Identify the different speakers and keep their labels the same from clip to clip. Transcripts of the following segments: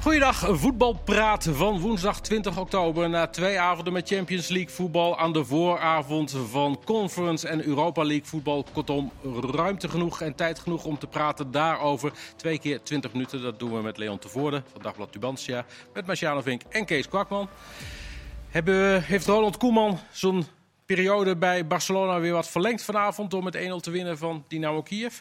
Speaker 1: Goeiedag, voetbalpraat van woensdag 20 oktober. Na twee avonden met Champions League voetbal aan de vooravond van Conference en Europa League voetbal. Kortom, ruimte genoeg en tijd genoeg om te praten daarover. Twee keer 20 minuten, dat doen we met Leon Tevoorde van Dagblad Tubantia. Met Marciano Vink en Kees Kwakman. Hebben, we- heeft Roland Koeman zijn periode bij Barcelona weer wat verlengd vanavond... door met 1-0 te winnen van Dynamo Kiev?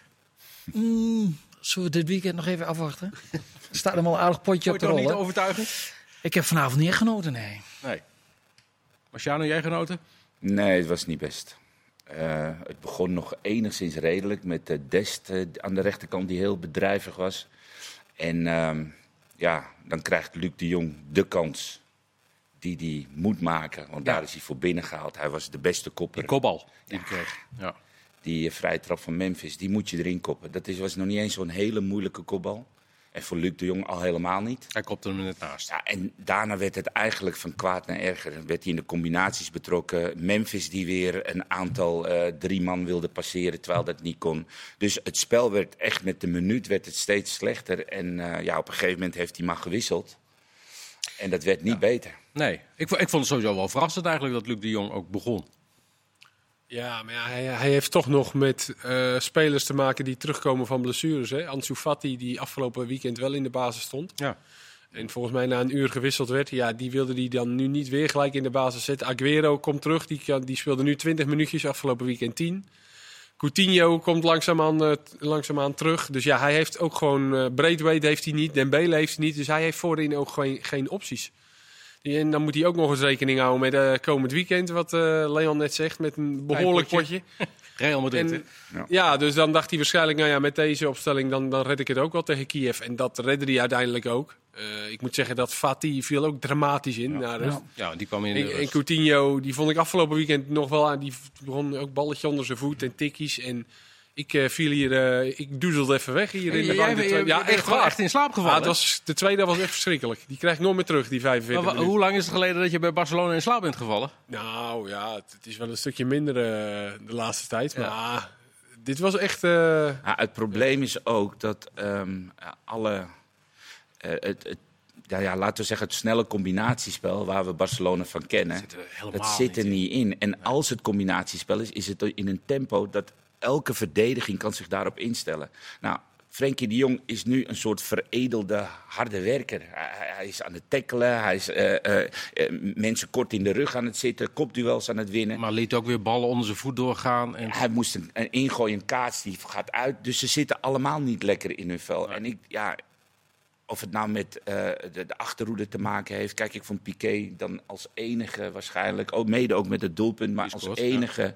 Speaker 2: Zullen we dit weekend nog even afwachten? Er staat hem al een aardig potje
Speaker 1: Wordt
Speaker 2: op de
Speaker 1: toch niet
Speaker 2: rollen.
Speaker 1: overtuigend?
Speaker 2: Ik heb vanavond niet echt genoten, nee.
Speaker 1: Nee. Marciano, jij genoten?
Speaker 3: Nee, het was niet best. Eh, het begon nog enigszins redelijk met eh, Dest eh, aan de rechterkant die heel bedrijvig was. En ehm, ja, dan krijgt Luc de Jong de kans die hij moet maken. Want daar is hij voor binnen gehaald. Hij was de beste kopper.
Speaker 1: Die kopbal die ik kreeg. Ja.
Speaker 3: Die eh, vrije trap van Memphis, die moet je erin koppen. Dat is, was nog niet eens zo'n hele moeilijke kopbal. En voor Luc de Jong al helemaal niet.
Speaker 1: Hij kopte hem net naast.
Speaker 3: Ja, en daarna werd het eigenlijk van kwaad naar erger. Dan werd hij in de combinaties betrokken. Memphis die weer een aantal eh, drie man wilde passeren, terwijl dat niet kon. Dus het spel werd echt met de minuut werd het steeds slechter. En eh, ja, op een gegeven moment heeft hij maar gewisseld. En dat werd niet beter.
Speaker 1: Nee, ik, vo- ik vond het sowieso wel verrassend eigenlijk dat Luc de Jong ook begon.
Speaker 4: Ja, maar ja, hij, hij heeft toch nog met eh, spelers te maken die terugkomen van blessures. Hè? Ansu Fati, die afgelopen weekend wel in de basis stond.
Speaker 1: Ja.
Speaker 4: En volgens mij na een uur gewisseld werd. Ja, die wilde die dan nu niet weer gelijk in de basis zetten. Aguero komt terug. Die, kan- die speelde nu 20 minuutjes afgelopen weekend 10. Coutinho komt langzaamaan, eh, t- langzaamaan terug. Dus ja, hij heeft ook gewoon... eh Braithwaite heeft hij niet. Dembele heeft hij niet. Dus hij heeft voorin ook geen, geen opties. Die- En dan moet hij ook nog eens rekening houden met eh, komend weekend. Wat eh, Leon net zegt. Met een behoorlijk
Speaker 1: Klein
Speaker 4: potje.
Speaker 1: potje. Real Madrid.
Speaker 4: En,
Speaker 1: hè?
Speaker 3: Ja.
Speaker 4: ja. dus dan dacht hij waarschijnlijk, nou ja, met deze opstelling dan, dan red ik het ook wel tegen Kiev. En dat redde hij uiteindelijk ook. Eh, ik moet zeggen dat Fatih viel ook dramatisch in. naar rust.
Speaker 1: Ja, die kwam in de
Speaker 4: En, en
Speaker 1: rust.
Speaker 4: Coutinho, die vond ik afgelopen weekend nog wel aan. Die begon ook balletje onder zijn voet en tikkies. En ik eh, viel hier, eh, ik doezelde even weg hier
Speaker 1: Hey,
Speaker 4: in de
Speaker 1: jij
Speaker 4: bank. De
Speaker 1: bent-
Speaker 4: tweede-
Speaker 1: je
Speaker 4: ja,
Speaker 1: bent
Speaker 4: echt
Speaker 1: gewoon
Speaker 4: waar.
Speaker 1: echt in slaap gevallen,
Speaker 4: Ja, het
Speaker 1: hè?
Speaker 4: was, de tweede was echt verschrikkelijk. Die krijg ik nooit meer terug, die 45
Speaker 1: Maar wa-
Speaker 4: minuten.
Speaker 1: hoe lang is het geleden dat je bij Barcelona in slaap bent gevallen?
Speaker 4: Nou ja, het, het is wel een stukje minder eh, de laatste tijd.
Speaker 1: Ja.
Speaker 4: Maar dit was echt. eh,
Speaker 3: Ja, het probleem is ook dat ehm, alle. eh, het, het, ja, ja, laten we zeggen, het snelle combinatiespel waar we Barcelona van kennen. dat zit er niet in. En als het combinatiespel is, is het in een tempo dat elke verdediging kan zich daarop instellen. Nou, Frenkie de Jong is nu een soort veredelde harde werker. Hij, hij- hij is aan het tackelen, hij is eh, eh, eh, mensen kort in de rug aan het zitten, kopduels aan het winnen.
Speaker 1: Maar liet ook weer ballen onder zijn voet doorgaan. En...
Speaker 3: Hij moest een, een ingooi, een kaats die gaat uit. Dus ze zitten allemaal niet lekker in hun vel. En ik, ja, of het nou met eh, de, de achterhoede te maken heeft. Kijk, ik vond Piqué dan als enige waarschijnlijk, ook mede ook met het doelpunt, maar
Speaker 1: Die
Speaker 3: als
Speaker 1: scoort, ja.
Speaker 3: enige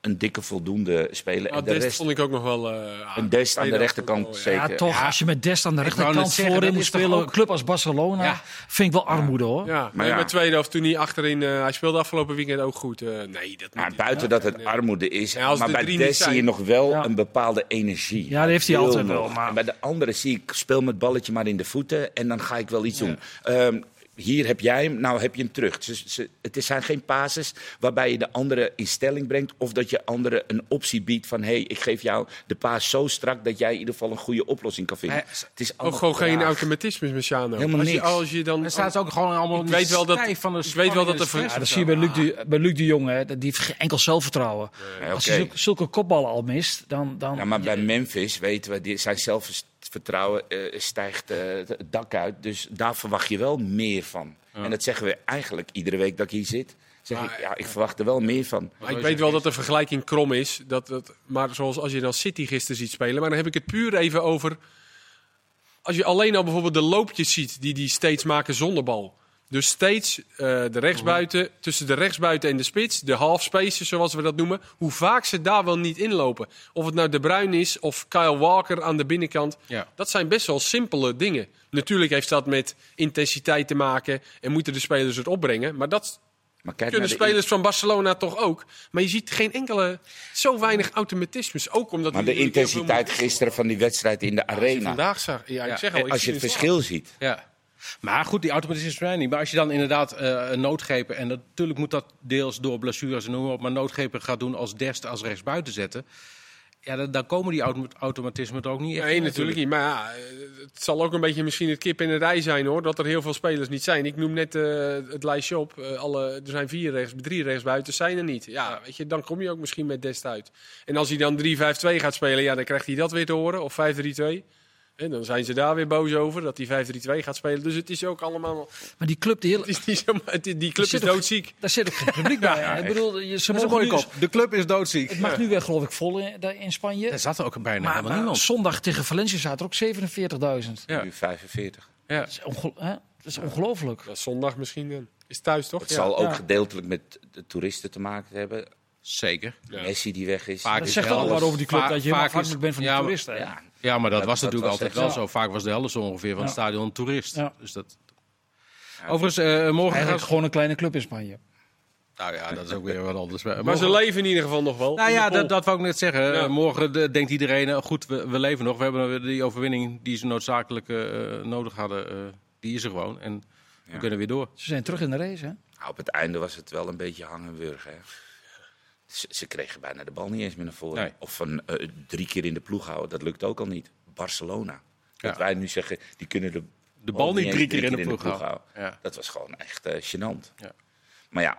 Speaker 3: een dikke voldoende speler.
Speaker 4: nou,
Speaker 3: en de
Speaker 4: Dest
Speaker 3: rest,
Speaker 4: vond ik ook nog wel. eh,
Speaker 3: een Dest aan de
Speaker 4: tweede helft
Speaker 3: rechterkant
Speaker 4: ook wel, ja.
Speaker 3: zeker.
Speaker 2: Ja, toch, als je met Dest aan de
Speaker 1: wou net
Speaker 2: rechterkant
Speaker 1: zeggen,
Speaker 2: voorin
Speaker 1: dat
Speaker 2: moet
Speaker 1: is toch
Speaker 2: spelen, een
Speaker 1: ook-
Speaker 2: club als Barcelona,
Speaker 1: Ja.
Speaker 2: vind ik wel armoede hoor.
Speaker 4: Ja,
Speaker 3: Maar
Speaker 4: maar
Speaker 3: ja.
Speaker 4: met tweede helft toen hij achterin. eh, hij speelde afgelopen weekend ook goed. Eh, nee, dat
Speaker 3: Ja,
Speaker 4: moet
Speaker 3: buiten dat het armoede is,
Speaker 4: Ja, als
Speaker 3: maar
Speaker 4: de
Speaker 3: bij
Speaker 4: drie
Speaker 3: Des
Speaker 4: niet
Speaker 3: zie je
Speaker 4: zijn.
Speaker 3: nog wel
Speaker 2: Ja.
Speaker 3: een bepaalde energie.
Speaker 2: Ja, die heeft hij
Speaker 3: Heel
Speaker 2: altijd wel,
Speaker 3: nog.
Speaker 2: maar-
Speaker 3: En bij de anderen zie ik, speel met balletje maar in de voeten en dan ga ik wel iets doen. Ehm, hier heb jij hem, nou heb je hem terug. Ze, ze- het is- zijn geen pases waarbij je de andere in stelling brengt... of dat je anderen een optie biedt van... hé, hey, ik geef jou de paas zo strak dat jij in ieder geval een goede oplossing kan vinden.
Speaker 1: Hij-
Speaker 3: het is
Speaker 4: ook
Speaker 3: allemaal
Speaker 4: gewoon geen
Speaker 3: traag.
Speaker 4: automatisme, Messiano.
Speaker 3: Helemaal
Speaker 4: als je,
Speaker 3: niks.
Speaker 4: Als je dan,
Speaker 1: En staat ze ook gewoon allemaal
Speaker 4: Ik weet wel dat-
Speaker 1: stijf van de
Speaker 4: ik weet wel
Speaker 1: spanning
Speaker 4: dat
Speaker 1: en de
Speaker 4: er van-
Speaker 1: stress
Speaker 2: Ja,
Speaker 1: of
Speaker 2: dat
Speaker 1: zo.
Speaker 2: zie je bij Luc de, bij Luc de Jong, hè, dat- die heeft geen enkel zelfvertrouwen.
Speaker 3: Nee,
Speaker 2: Als
Speaker 3: oké.
Speaker 2: hij zulke, zulke kopballen al mist, dan... dan
Speaker 3: Ja, maar bij Memphis weten we, die- zijn zelfvertrouwen eh, stijgt eh, het dak uit. Dus daar verwacht je wel meer van. En dat zeggen we eigenlijk iedere week dat ik hier zit. Zeg
Speaker 4: Maar-
Speaker 3: ik, ja, ik verwacht er wel meer van.
Speaker 4: Maar ik weet wel dat de vergelijking krom is. Dat, dat, maar zoals als je dan City gisteren ziet spelen. Maar dan heb ik het puur even over. Als je alleen al bijvoorbeeld de loopjes ziet die die steeds maken zonder bal. Dus steeds eh, de rechtsbuiten, tussen de rechtsbuiten en de spits, de half spaces zoals we dat noemen. Hoe vaak ze daar wel niet inlopen. Of het nou De Bruin is of Kyle Walker aan de binnenkant.
Speaker 1: Ja.
Speaker 4: Dat zijn best wel simpele dingen. Natuurlijk heeft dat met intensiteit te maken en moeten de spelers het opbrengen. Maar dat,
Speaker 3: Maar kijk
Speaker 4: kunnen
Speaker 3: naar nou, de
Speaker 4: spelers van Barcelona toch ook. Maar je ziet geen enkele, zo weinig automatismes. Ook omdat
Speaker 3: Maar de
Speaker 4: die-
Speaker 3: intensiteit gisteren van die wedstrijd in de
Speaker 4: Als je
Speaker 3: arena.
Speaker 4: vandaag zag, ja, ik zeg al, ik
Speaker 3: Als je
Speaker 4: zie
Speaker 3: het
Speaker 4: een
Speaker 3: verschil ziet.
Speaker 1: Ja. Maar goed, die automatisme zijn er niet. Maar als je dan inderdaad eh, noodgrepen... en natuurlijk moet dat deels door blessures en noem maar op... maar noodgrepen gaat doen als Dest als rechtsbuiten zetten... Ja, dan, dan komen die autom- automatismen er ook niet echt
Speaker 4: Nee,
Speaker 1: in
Speaker 4: natuurlijk niet. Maar ja, eh, het zal ook een beetje misschien het kip in de rij zijn hoor. Dat er heel veel spelers niet zijn. Ik noem net eh, het lijstje op. Eh, alle, er zijn vier rechts, drie rechtsbuiten zijn er niet. Ja, weet je, dan kom je ook misschien met Dest uit. En als hij dan 3-5-2 gaat spelen, ja, dan krijgt hij dat weer te horen. Of 5-3-2. En dan zijn ze daar weer boos over dat hij 5-3-2 gaat spelen. Dus het is ook allemaal.
Speaker 2: Maar die club, die
Speaker 4: Het
Speaker 2: hele,
Speaker 4: is niet zo, het, die club
Speaker 2: Er
Speaker 4: is
Speaker 2: zit ook-
Speaker 4: doodziek.
Speaker 2: daar zit ook geen publiek bij. hè. Ik bedoel, je- ze
Speaker 1: Dat is een
Speaker 2: mogen
Speaker 1: mooie
Speaker 2: nu-
Speaker 1: kop. De club is doodziek.
Speaker 2: Het mag nu weer, geloof ik, vol in, daar in Spanje.
Speaker 1: Er zat ook bijna
Speaker 2: maar
Speaker 1: helemaal
Speaker 2: maar
Speaker 1: niemand.
Speaker 2: zondag tegen Valencia zaten er ook 47.000.
Speaker 1: Ja.
Speaker 3: Nu 45.
Speaker 1: Ja.
Speaker 2: Dat is, ongel- hè? Dat is ongelooflijk.
Speaker 4: Ja, zondag misschien dan. Is thuis toch?
Speaker 3: Het
Speaker 4: Ja.
Speaker 3: zal ook
Speaker 2: ja.
Speaker 3: gedeeltelijk met de toeristen te maken hebben.
Speaker 1: Zeker.
Speaker 4: Ja.
Speaker 3: Messi die weg is.
Speaker 1: Vaak
Speaker 2: Dat
Speaker 1: is
Speaker 2: zegt
Speaker 1: de
Speaker 2: al
Speaker 1: helft-
Speaker 2: wat over die club,
Speaker 1: vaak-
Speaker 2: dat je helemaal
Speaker 1: vaak is-
Speaker 2: afhankelijk bent van die
Speaker 1: ja, maar-
Speaker 2: toeristen. hè.
Speaker 3: Ja,
Speaker 1: Ja, maar dat,
Speaker 3: Dat-
Speaker 1: was
Speaker 3: dat
Speaker 1: natuurlijk
Speaker 3: was
Speaker 1: altijd
Speaker 3: echt
Speaker 1: wel
Speaker 2: zo.
Speaker 1: zo. Vaak was de helft zo ongeveer van het
Speaker 2: Ja.
Speaker 1: stadion een toerist.
Speaker 2: Ja.
Speaker 1: Dus dat... Overigens, eh, morgen
Speaker 2: Eigenlijk
Speaker 1: gaat...
Speaker 2: gewoon een kleine club in Spanje.
Speaker 1: Nou ja, dat is ook weer wat anders. Maar
Speaker 4: Maar
Speaker 1: morgen-
Speaker 4: ze leven in ieder geval nog wel.
Speaker 1: Nou
Speaker 4: in de
Speaker 1: ja,
Speaker 4: pool.
Speaker 1: dat, dat wou ik net zeggen.
Speaker 4: Ja.
Speaker 1: Eh, Morgen eh, denkt iedereen, eh, goed, we, we leven nog. We hebben weer die overwinning die ze noodzakelijk eh, nodig hadden. eh, die is er gewoon. En we
Speaker 3: Ja.
Speaker 1: kunnen weer door.
Speaker 2: Ze zijn terug in de race, hè?
Speaker 3: Nou, op het einde was het wel een beetje hangen wurgen. hè. Ze, ze kregen bijna de bal niet eens meer naar voren.
Speaker 1: Nee.
Speaker 3: Of van eh, drie keer in de ploeg houden, dat lukt ook al niet. Barcelona. Dat
Speaker 1: Ja.
Speaker 3: wij nu zeggen, die kunnen de,
Speaker 1: De bal niet
Speaker 3: eens
Speaker 1: drie keer in de ploeg houden. Ja.
Speaker 3: Dat was gewoon echt eh, gênant.
Speaker 1: Ja.
Speaker 3: Maar ja,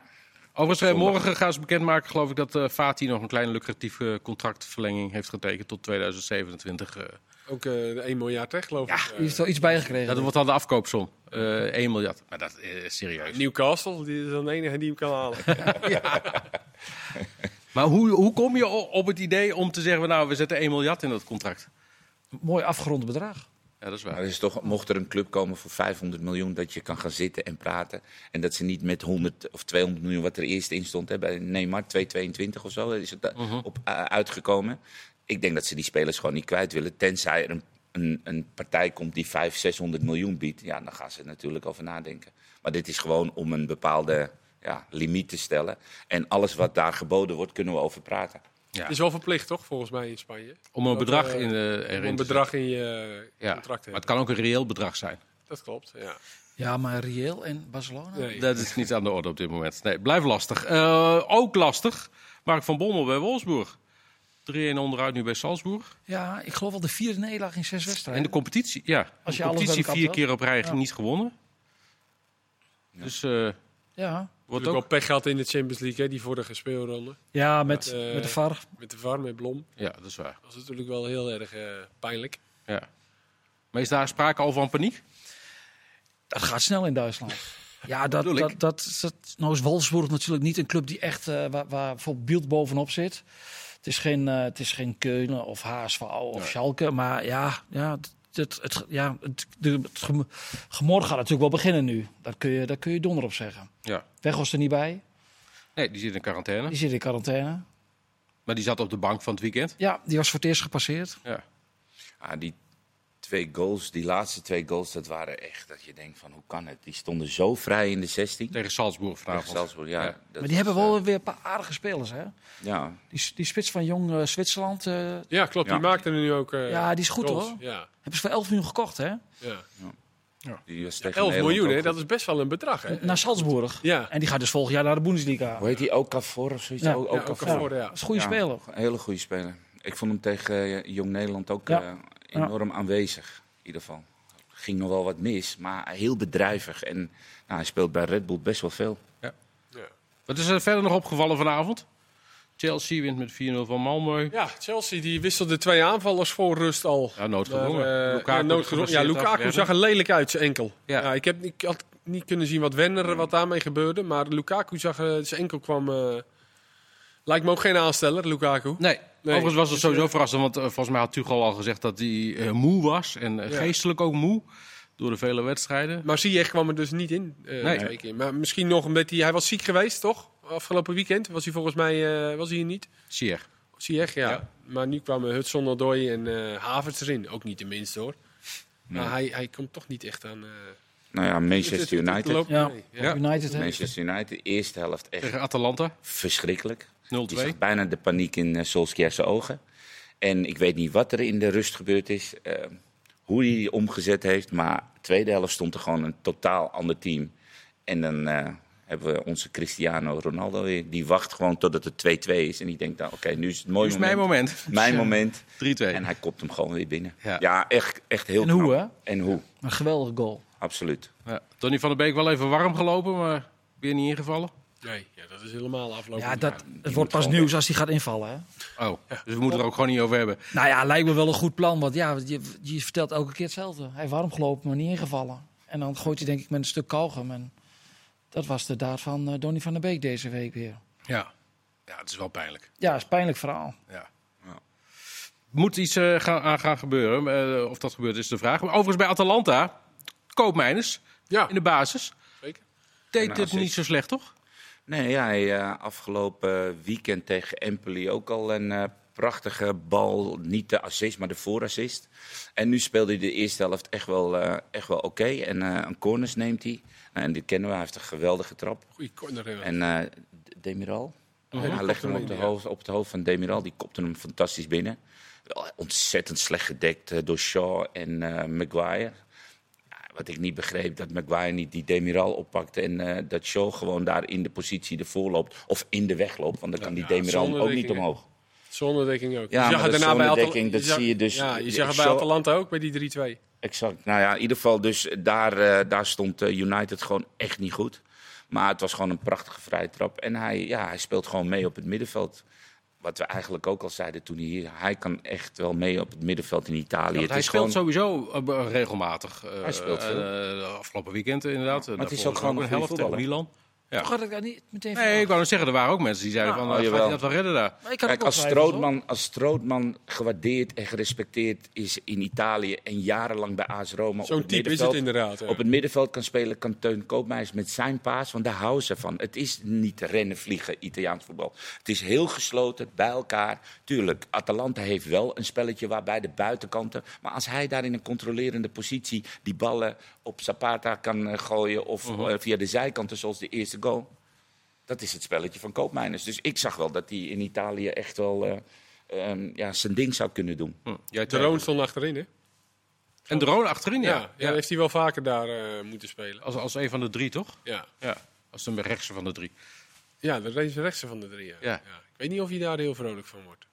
Speaker 1: Overigens, eh,
Speaker 3: Zondag.
Speaker 1: morgen gaan ze bekendmaken, geloof ik, dat eh Fati nog een kleine lucratieve contractverlenging heeft getekend tot 2027. eh.
Speaker 4: Ook eh 1 miljard, hè, geloof ik.
Speaker 2: Die heeft wel iets bijgekregen.
Speaker 1: dat wordt dan de afkoopsom. Eh 1 miljard. Maar dat is serieus.
Speaker 4: Eh, Newcastle, die is dan de enige die hem kan halen.
Speaker 1: Maar hoe, hoe kom je o- op het idee om te zeggen, nou, we zetten 1 miljard in dat contract?
Speaker 2: Mooi afgerond bedrag.
Speaker 1: Ja, dat is
Speaker 3: maar
Speaker 1: waar.
Speaker 3: er is toch, mocht er een club komen voor 500 miljoen, dat je kan gaan zitten en praten. En dat ze niet met 100 of 200 miljoen, wat er eerst in stond, hè, bij Neymar 222 of zo, is het daar op eh, uitgekomen. Ik denk dat ze die spelers gewoon niet kwijt willen, tenzij er een, een, een partij komt die 500, 600 miljoen biedt. Ja, dan gaan ze er natuurlijk over nadenken. Maar dit is gewoon om een bepaalde ja, limiet te stellen. En alles wat daar geboden wordt, kunnen we over praten.
Speaker 1: Ja.
Speaker 4: Het is wel verplicht, toch, volgens mij in Spanje?
Speaker 1: Om een
Speaker 4: Dat,
Speaker 1: bedrag
Speaker 4: eh,
Speaker 1: in de
Speaker 4: Om een bedrag in je
Speaker 1: Ja,
Speaker 4: eh,
Speaker 1: maar
Speaker 4: contract te
Speaker 1: het
Speaker 4: hebben.
Speaker 1: kan ook een reëel bedrag zijn.
Speaker 4: Dat klopt, ja.
Speaker 2: Ja, maar reëel en Barcelona.
Speaker 4: Nee.
Speaker 1: Dat is niet aan de orde op dit moment. Nee, blijf lastig. Eh, ook lastig, Mark van Bommel bij Wolfsburg. 3-1 onderuit nu bij Salzburg.
Speaker 2: Ja, ik geloof al de vierde nederlaag in zes
Speaker 1: En
Speaker 2: wedstrijden.
Speaker 1: de competitie, ja.
Speaker 2: Als je
Speaker 1: de
Speaker 2: alles bij
Speaker 1: competitie
Speaker 2: elkaar
Speaker 1: vier
Speaker 2: telt.
Speaker 1: keer op rij
Speaker 2: Ja.
Speaker 1: niet gewonnen. Dus eh,
Speaker 2: Ja.
Speaker 1: wordt
Speaker 4: Natuurlijk
Speaker 1: ook...
Speaker 4: ook pech gehad in de Champions League, hè, die vorige speelronde.
Speaker 2: ja, met,
Speaker 4: Eh,
Speaker 2: met de VAR.
Speaker 4: Met de VAR, met Blom.
Speaker 1: Ja, dat is waar.
Speaker 4: Dat was natuurlijk wel heel erg eh, pijnlijk.
Speaker 1: Ja. Maar is daar sprake al van paniek?
Speaker 2: Dat gaat snel in Duitsland. Ja, dat,
Speaker 1: Bedoel
Speaker 2: dat,
Speaker 1: ik.
Speaker 2: dat, dat- nou is Wolfsburg natuurlijk niet een club die echt eh, waar, waar bijvoorbeeld Bielt bovenop zit. Het is geen, eh, het is geen Keulen of HSV of Schalke, maar ja, ja, het, het, ja het, de, het gem- gemor gaat natuurlijk wel beginnen nu. Daar kun je, daar kun je donder op zeggen.
Speaker 1: Ja.
Speaker 2: Weg was er niet bij,
Speaker 1: Nee, die zit in quarantaine.
Speaker 2: die zit in quarantaine.
Speaker 1: Maar die zat op de bank van het weekend.
Speaker 2: Ja, die was voor het eerst gepasseerd.
Speaker 1: Ja.
Speaker 3: Ah, die twee goals, die laatste twee goals, dat waren echt dat je denkt van hoe kan het? Die stonden zo vrij in de 16.
Speaker 1: Tegen Salzburg
Speaker 3: Tegen
Speaker 1: vanavond.
Speaker 3: Salzburg, ja.
Speaker 1: Ja.
Speaker 3: dat
Speaker 2: maar
Speaker 3: is,
Speaker 2: die hebben
Speaker 3: eh,
Speaker 2: wel weer een paar aardige spelers, hè?
Speaker 3: ja.
Speaker 2: Die, s- die spits van Jong eh, Zwitserland, eh,
Speaker 4: Ja, klopt.
Speaker 3: Ja.
Speaker 4: Die maakte er nu ook. eh,
Speaker 2: Ja, die is goed,
Speaker 4: goals.
Speaker 2: hoor.
Speaker 4: Ja,
Speaker 2: hebben ze voor 11 miljoen gekocht, hè?
Speaker 4: ja.
Speaker 3: Die was tegen Nederland
Speaker 4: 11 miljoen,
Speaker 3: ook
Speaker 4: hè,
Speaker 3: goed.
Speaker 4: dat is best wel een bedrag. Hè?
Speaker 2: Naar Salzburg.
Speaker 4: Ja.
Speaker 2: En die gaat dus volgend jaar naar de Bundesliga.
Speaker 3: Hoe heet die? Okafor of zoiets?
Speaker 2: Ja.
Speaker 3: O-
Speaker 4: Ja, ook
Speaker 3: Okafor.
Speaker 4: al voor, ja.
Speaker 2: Dat is een goede
Speaker 3: Ja,
Speaker 2: speler.
Speaker 3: een hele goede speler. Ik vond hem tegen eh, Jong Nederland ook
Speaker 2: Ja.
Speaker 3: eh, enorm aanwezig. In ieder geval. Ging nog wel wat mis, maar heel bedrijvig. En nou, hij speelt bij Red Bull best wel veel.
Speaker 1: Wat is er verder nog opgevallen vanavond? Chelsea wint met 4-0 van Malmö.
Speaker 4: Ja, Chelsea die wisselde twee aanvallers voor rust al.
Speaker 1: Ja, noodgedwongen.
Speaker 4: Maar, eh,
Speaker 1: Lukaku
Speaker 4: ja, noodgedwongen. Ja,
Speaker 1: geblesseerd
Speaker 4: Lukaku
Speaker 1: afgewerkt.
Speaker 4: zag er lelijk uit, zijn enkel.
Speaker 1: Ja. Mm.
Speaker 4: Ja. ik, heb, ik had niet kunnen zien wat Wenner, wat daarmee gebeurde. Maar Lukaku zag, eh, zijn enkel kwam... eh, lijkt me ook geen aansteller, Lukaku.
Speaker 1: Nee. Overigens was het
Speaker 4: Dus,
Speaker 1: sowieso
Speaker 4: eh,
Speaker 1: verrassend, want eh, volgens mij had Tuchel al gezegd dat hij eh, moe was. En eh,
Speaker 4: Ja.
Speaker 1: geestelijk ook moe, door de vele wedstrijden.
Speaker 4: Maar Ziyech kwam er dus niet in. eh,
Speaker 1: Nee.
Speaker 4: twee keer. Maar misschien nog omdat hij... Hij was ziek geweest, toch? Afgelopen weekend was hij volgens mij eh, was hij er niet.
Speaker 1: Sier.
Speaker 4: Ziyech, ja.
Speaker 1: Ja.
Speaker 4: Maar nu kwamen Hudson, Odoi en eh, Havertz erin. Ook niet de minste, hoor.
Speaker 3: Nee.
Speaker 4: Maar hij, hij komt toch niet echt aan... eh,
Speaker 3: Nou ja,
Speaker 4: het-
Speaker 3: Manchester
Speaker 4: het- het
Speaker 3: United.
Speaker 4: loopt-
Speaker 2: Ja.
Speaker 4: nee,
Speaker 1: Ja.
Speaker 2: United, hè?
Speaker 3: Manchester United, eerste helft echt
Speaker 1: Tegen Atalanta,
Speaker 3: verschrikkelijk.
Speaker 1: 0-2.
Speaker 3: Je zag bijna de paniek in uh, zijn ogen. En ik weet niet wat er in de rust gebeurd is. eh, hoe hij die omgezet heeft. Maar de tweede helft stond er gewoon een totaal ander team. En dan eh, hebben we onze Cristiano Ronaldo weer. Die wacht gewoon totdat het 2-2 is. En die denkt dan, oké, nu is het mooi
Speaker 1: is mijn moment.
Speaker 3: Mijn moment.
Speaker 1: 3-2.
Speaker 3: En hij kopt hem gewoon weer binnen.
Speaker 1: Ja.
Speaker 3: Ja, echt, echt heel
Speaker 2: En hoe,
Speaker 3: knap. En hoe,
Speaker 2: Een geweldige goal.
Speaker 3: absoluut.
Speaker 1: Ja, Donny van der Beek wel even warm gelopen, maar weer niet ingevallen.
Speaker 4: Nee, ja, dat is helemaal afgelopen.
Speaker 2: Ja, dat, het
Speaker 3: moet
Speaker 2: wordt pas
Speaker 3: gewoon
Speaker 2: nieuws als hij gaat invallen. Hè?
Speaker 1: Oh, dus we moeten er ook gewoon niet over hebben.
Speaker 2: Nou ja, lijkt me wel een goed plan. Want ja, je, je vertelt elke keer hetzelfde. Hij heeft warm gelopen, maar niet ingevallen. En dan gooit hij denk ik met een stuk kauwgum. En dat was de daad van eh, Donny van der Beek deze week weer.
Speaker 1: Ja, ja het is wel pijnlijk.
Speaker 2: Ja, is een pijnlijk verhaal.
Speaker 1: Ja.
Speaker 3: Ja.
Speaker 1: Moet iets eh, gaan, aan gaan gebeuren. Eh, of dat gebeurt is de vraag. Maar overigens bij Atalanta, koopmijners
Speaker 4: Ja,
Speaker 1: in de basis.
Speaker 4: zeker.
Speaker 1: Deed
Speaker 3: En
Speaker 1: het
Speaker 3: assist.
Speaker 1: niet zo slecht, toch?
Speaker 3: Nee, ja, hij eh, afgelopen weekend tegen Empoli ook al een eh, prachtige bal. Niet de assist, maar de voorassist. En nu speelde hij de eerste helft echt wel, eh, echt wel oké. En eh, een corners neemt hij. Nou, en die kennen we, hij heeft een geweldige trap.
Speaker 4: Goeie corner. hebben we.
Speaker 3: En eh, D- Demiral?
Speaker 4: Mhm.
Speaker 3: hij legde hem op, de
Speaker 4: ja.
Speaker 3: hoofd, op het hoofd van Demiral. Die kopte hem fantastisch binnen. Wel ontzettend slecht gedekt eh, door Shaw en eh, Maguire. Ja, wat ik niet begreep, dat Maguire niet die Demiral oppakt. En eh, dat Shaw gewoon daar in de positie ervoor loopt. Of in de weg loopt, want dan kan die
Speaker 4: ja,
Speaker 3: Demiral
Speaker 4: zonder
Speaker 3: ook niet
Speaker 4: dekking, hè.
Speaker 3: omhoog.
Speaker 4: Zonnedekking ook.
Speaker 3: Ja,
Speaker 4: Je zag
Speaker 3: maar
Speaker 4: het
Speaker 3: dat
Speaker 4: daarna bij Atal-
Speaker 3: zonnedekking, dat
Speaker 4: zag-
Speaker 3: zie je dus-
Speaker 4: Ja, je
Speaker 3: ik
Speaker 4: zag het bij
Speaker 3: zag-
Speaker 4: Atalanta ook, bij die 3-2.
Speaker 3: Exact. Nou ja, in ieder geval, dus daar, eh, daar stond eh, United gewoon echt niet goed. Maar het was gewoon een prachtige vrije trap. En hij, ja, hij speelt gewoon mee op het middenveld. Wat we eigenlijk ook al zeiden toen hij hier... Hij kan echt wel mee op het middenveld in Italië.
Speaker 1: Want
Speaker 3: het
Speaker 1: hij
Speaker 3: is
Speaker 1: speelt
Speaker 3: gewoon,
Speaker 1: sowieso eh, be- regelmatig. Eh,
Speaker 3: Hij speelt veel.
Speaker 1: eh, eh, afgelopen weekend inderdaad. Eh,
Speaker 3: maar het is
Speaker 1: Daarvoor
Speaker 3: ook gewoon
Speaker 1: een
Speaker 3: een goede
Speaker 1: helft tegen
Speaker 3: voetballer.
Speaker 1: Milan. Ja.
Speaker 2: Toch had ik daar niet meteen van
Speaker 1: Nee, ik wou nog zeggen, er waren ook mensen die zeiden
Speaker 2: Ja,
Speaker 1: van,
Speaker 3: oh,
Speaker 1: eh, gaat hij
Speaker 3: jawel.
Speaker 1: dat wel redden daar?
Speaker 2: Maar ik had
Speaker 3: Kijk,
Speaker 2: ook
Speaker 3: als
Speaker 2: twijfels, hoor.
Speaker 3: Strootman, als Strootman gewaardeerd en gerespecteerd is in Italië... en jarenlang bij AS Roma op
Speaker 4: Zo'n
Speaker 3: het
Speaker 4: type is het
Speaker 3: middenveld...
Speaker 4: inderdaad. ja.
Speaker 3: op het middenveld kan spelen, kan Teun Koopmeijers met zijn paas. Want daar houden ze van. Het is niet rennen, vliegen, Italiaans voetbal. Het is heel gesloten, bij elkaar. Tuurlijk, Atalanta heeft wel een spelletje waarbij de buitenkanten... Maar als hij daar in een controlerende positie die ballen op Zapata kan eh, gooien... of
Speaker 4: Mhm.
Speaker 3: eh, via de zijkanten, zoals de eerste goal... Dat is het spelletje van Koopmijners. Dus ik zag wel dat hij in Italië echt wel eh, ehm, ja, zijn ding zou kunnen doen.
Speaker 1: Hm, jij
Speaker 4: Droon stond achterin, hè?
Speaker 1: En Droon achterin,
Speaker 4: Ja,
Speaker 1: ja.
Speaker 4: ja, dan heeft hij wel vaker daar eh, moeten spelen.
Speaker 1: Als, als een van de drie, toch?
Speaker 4: Ja,
Speaker 1: Ja, als een rechtse van de drie.
Speaker 4: ja de re- rechtse van de drie. Ja.
Speaker 1: Ja.
Speaker 4: Ik weet niet of hij daar heel vrolijk van wordt.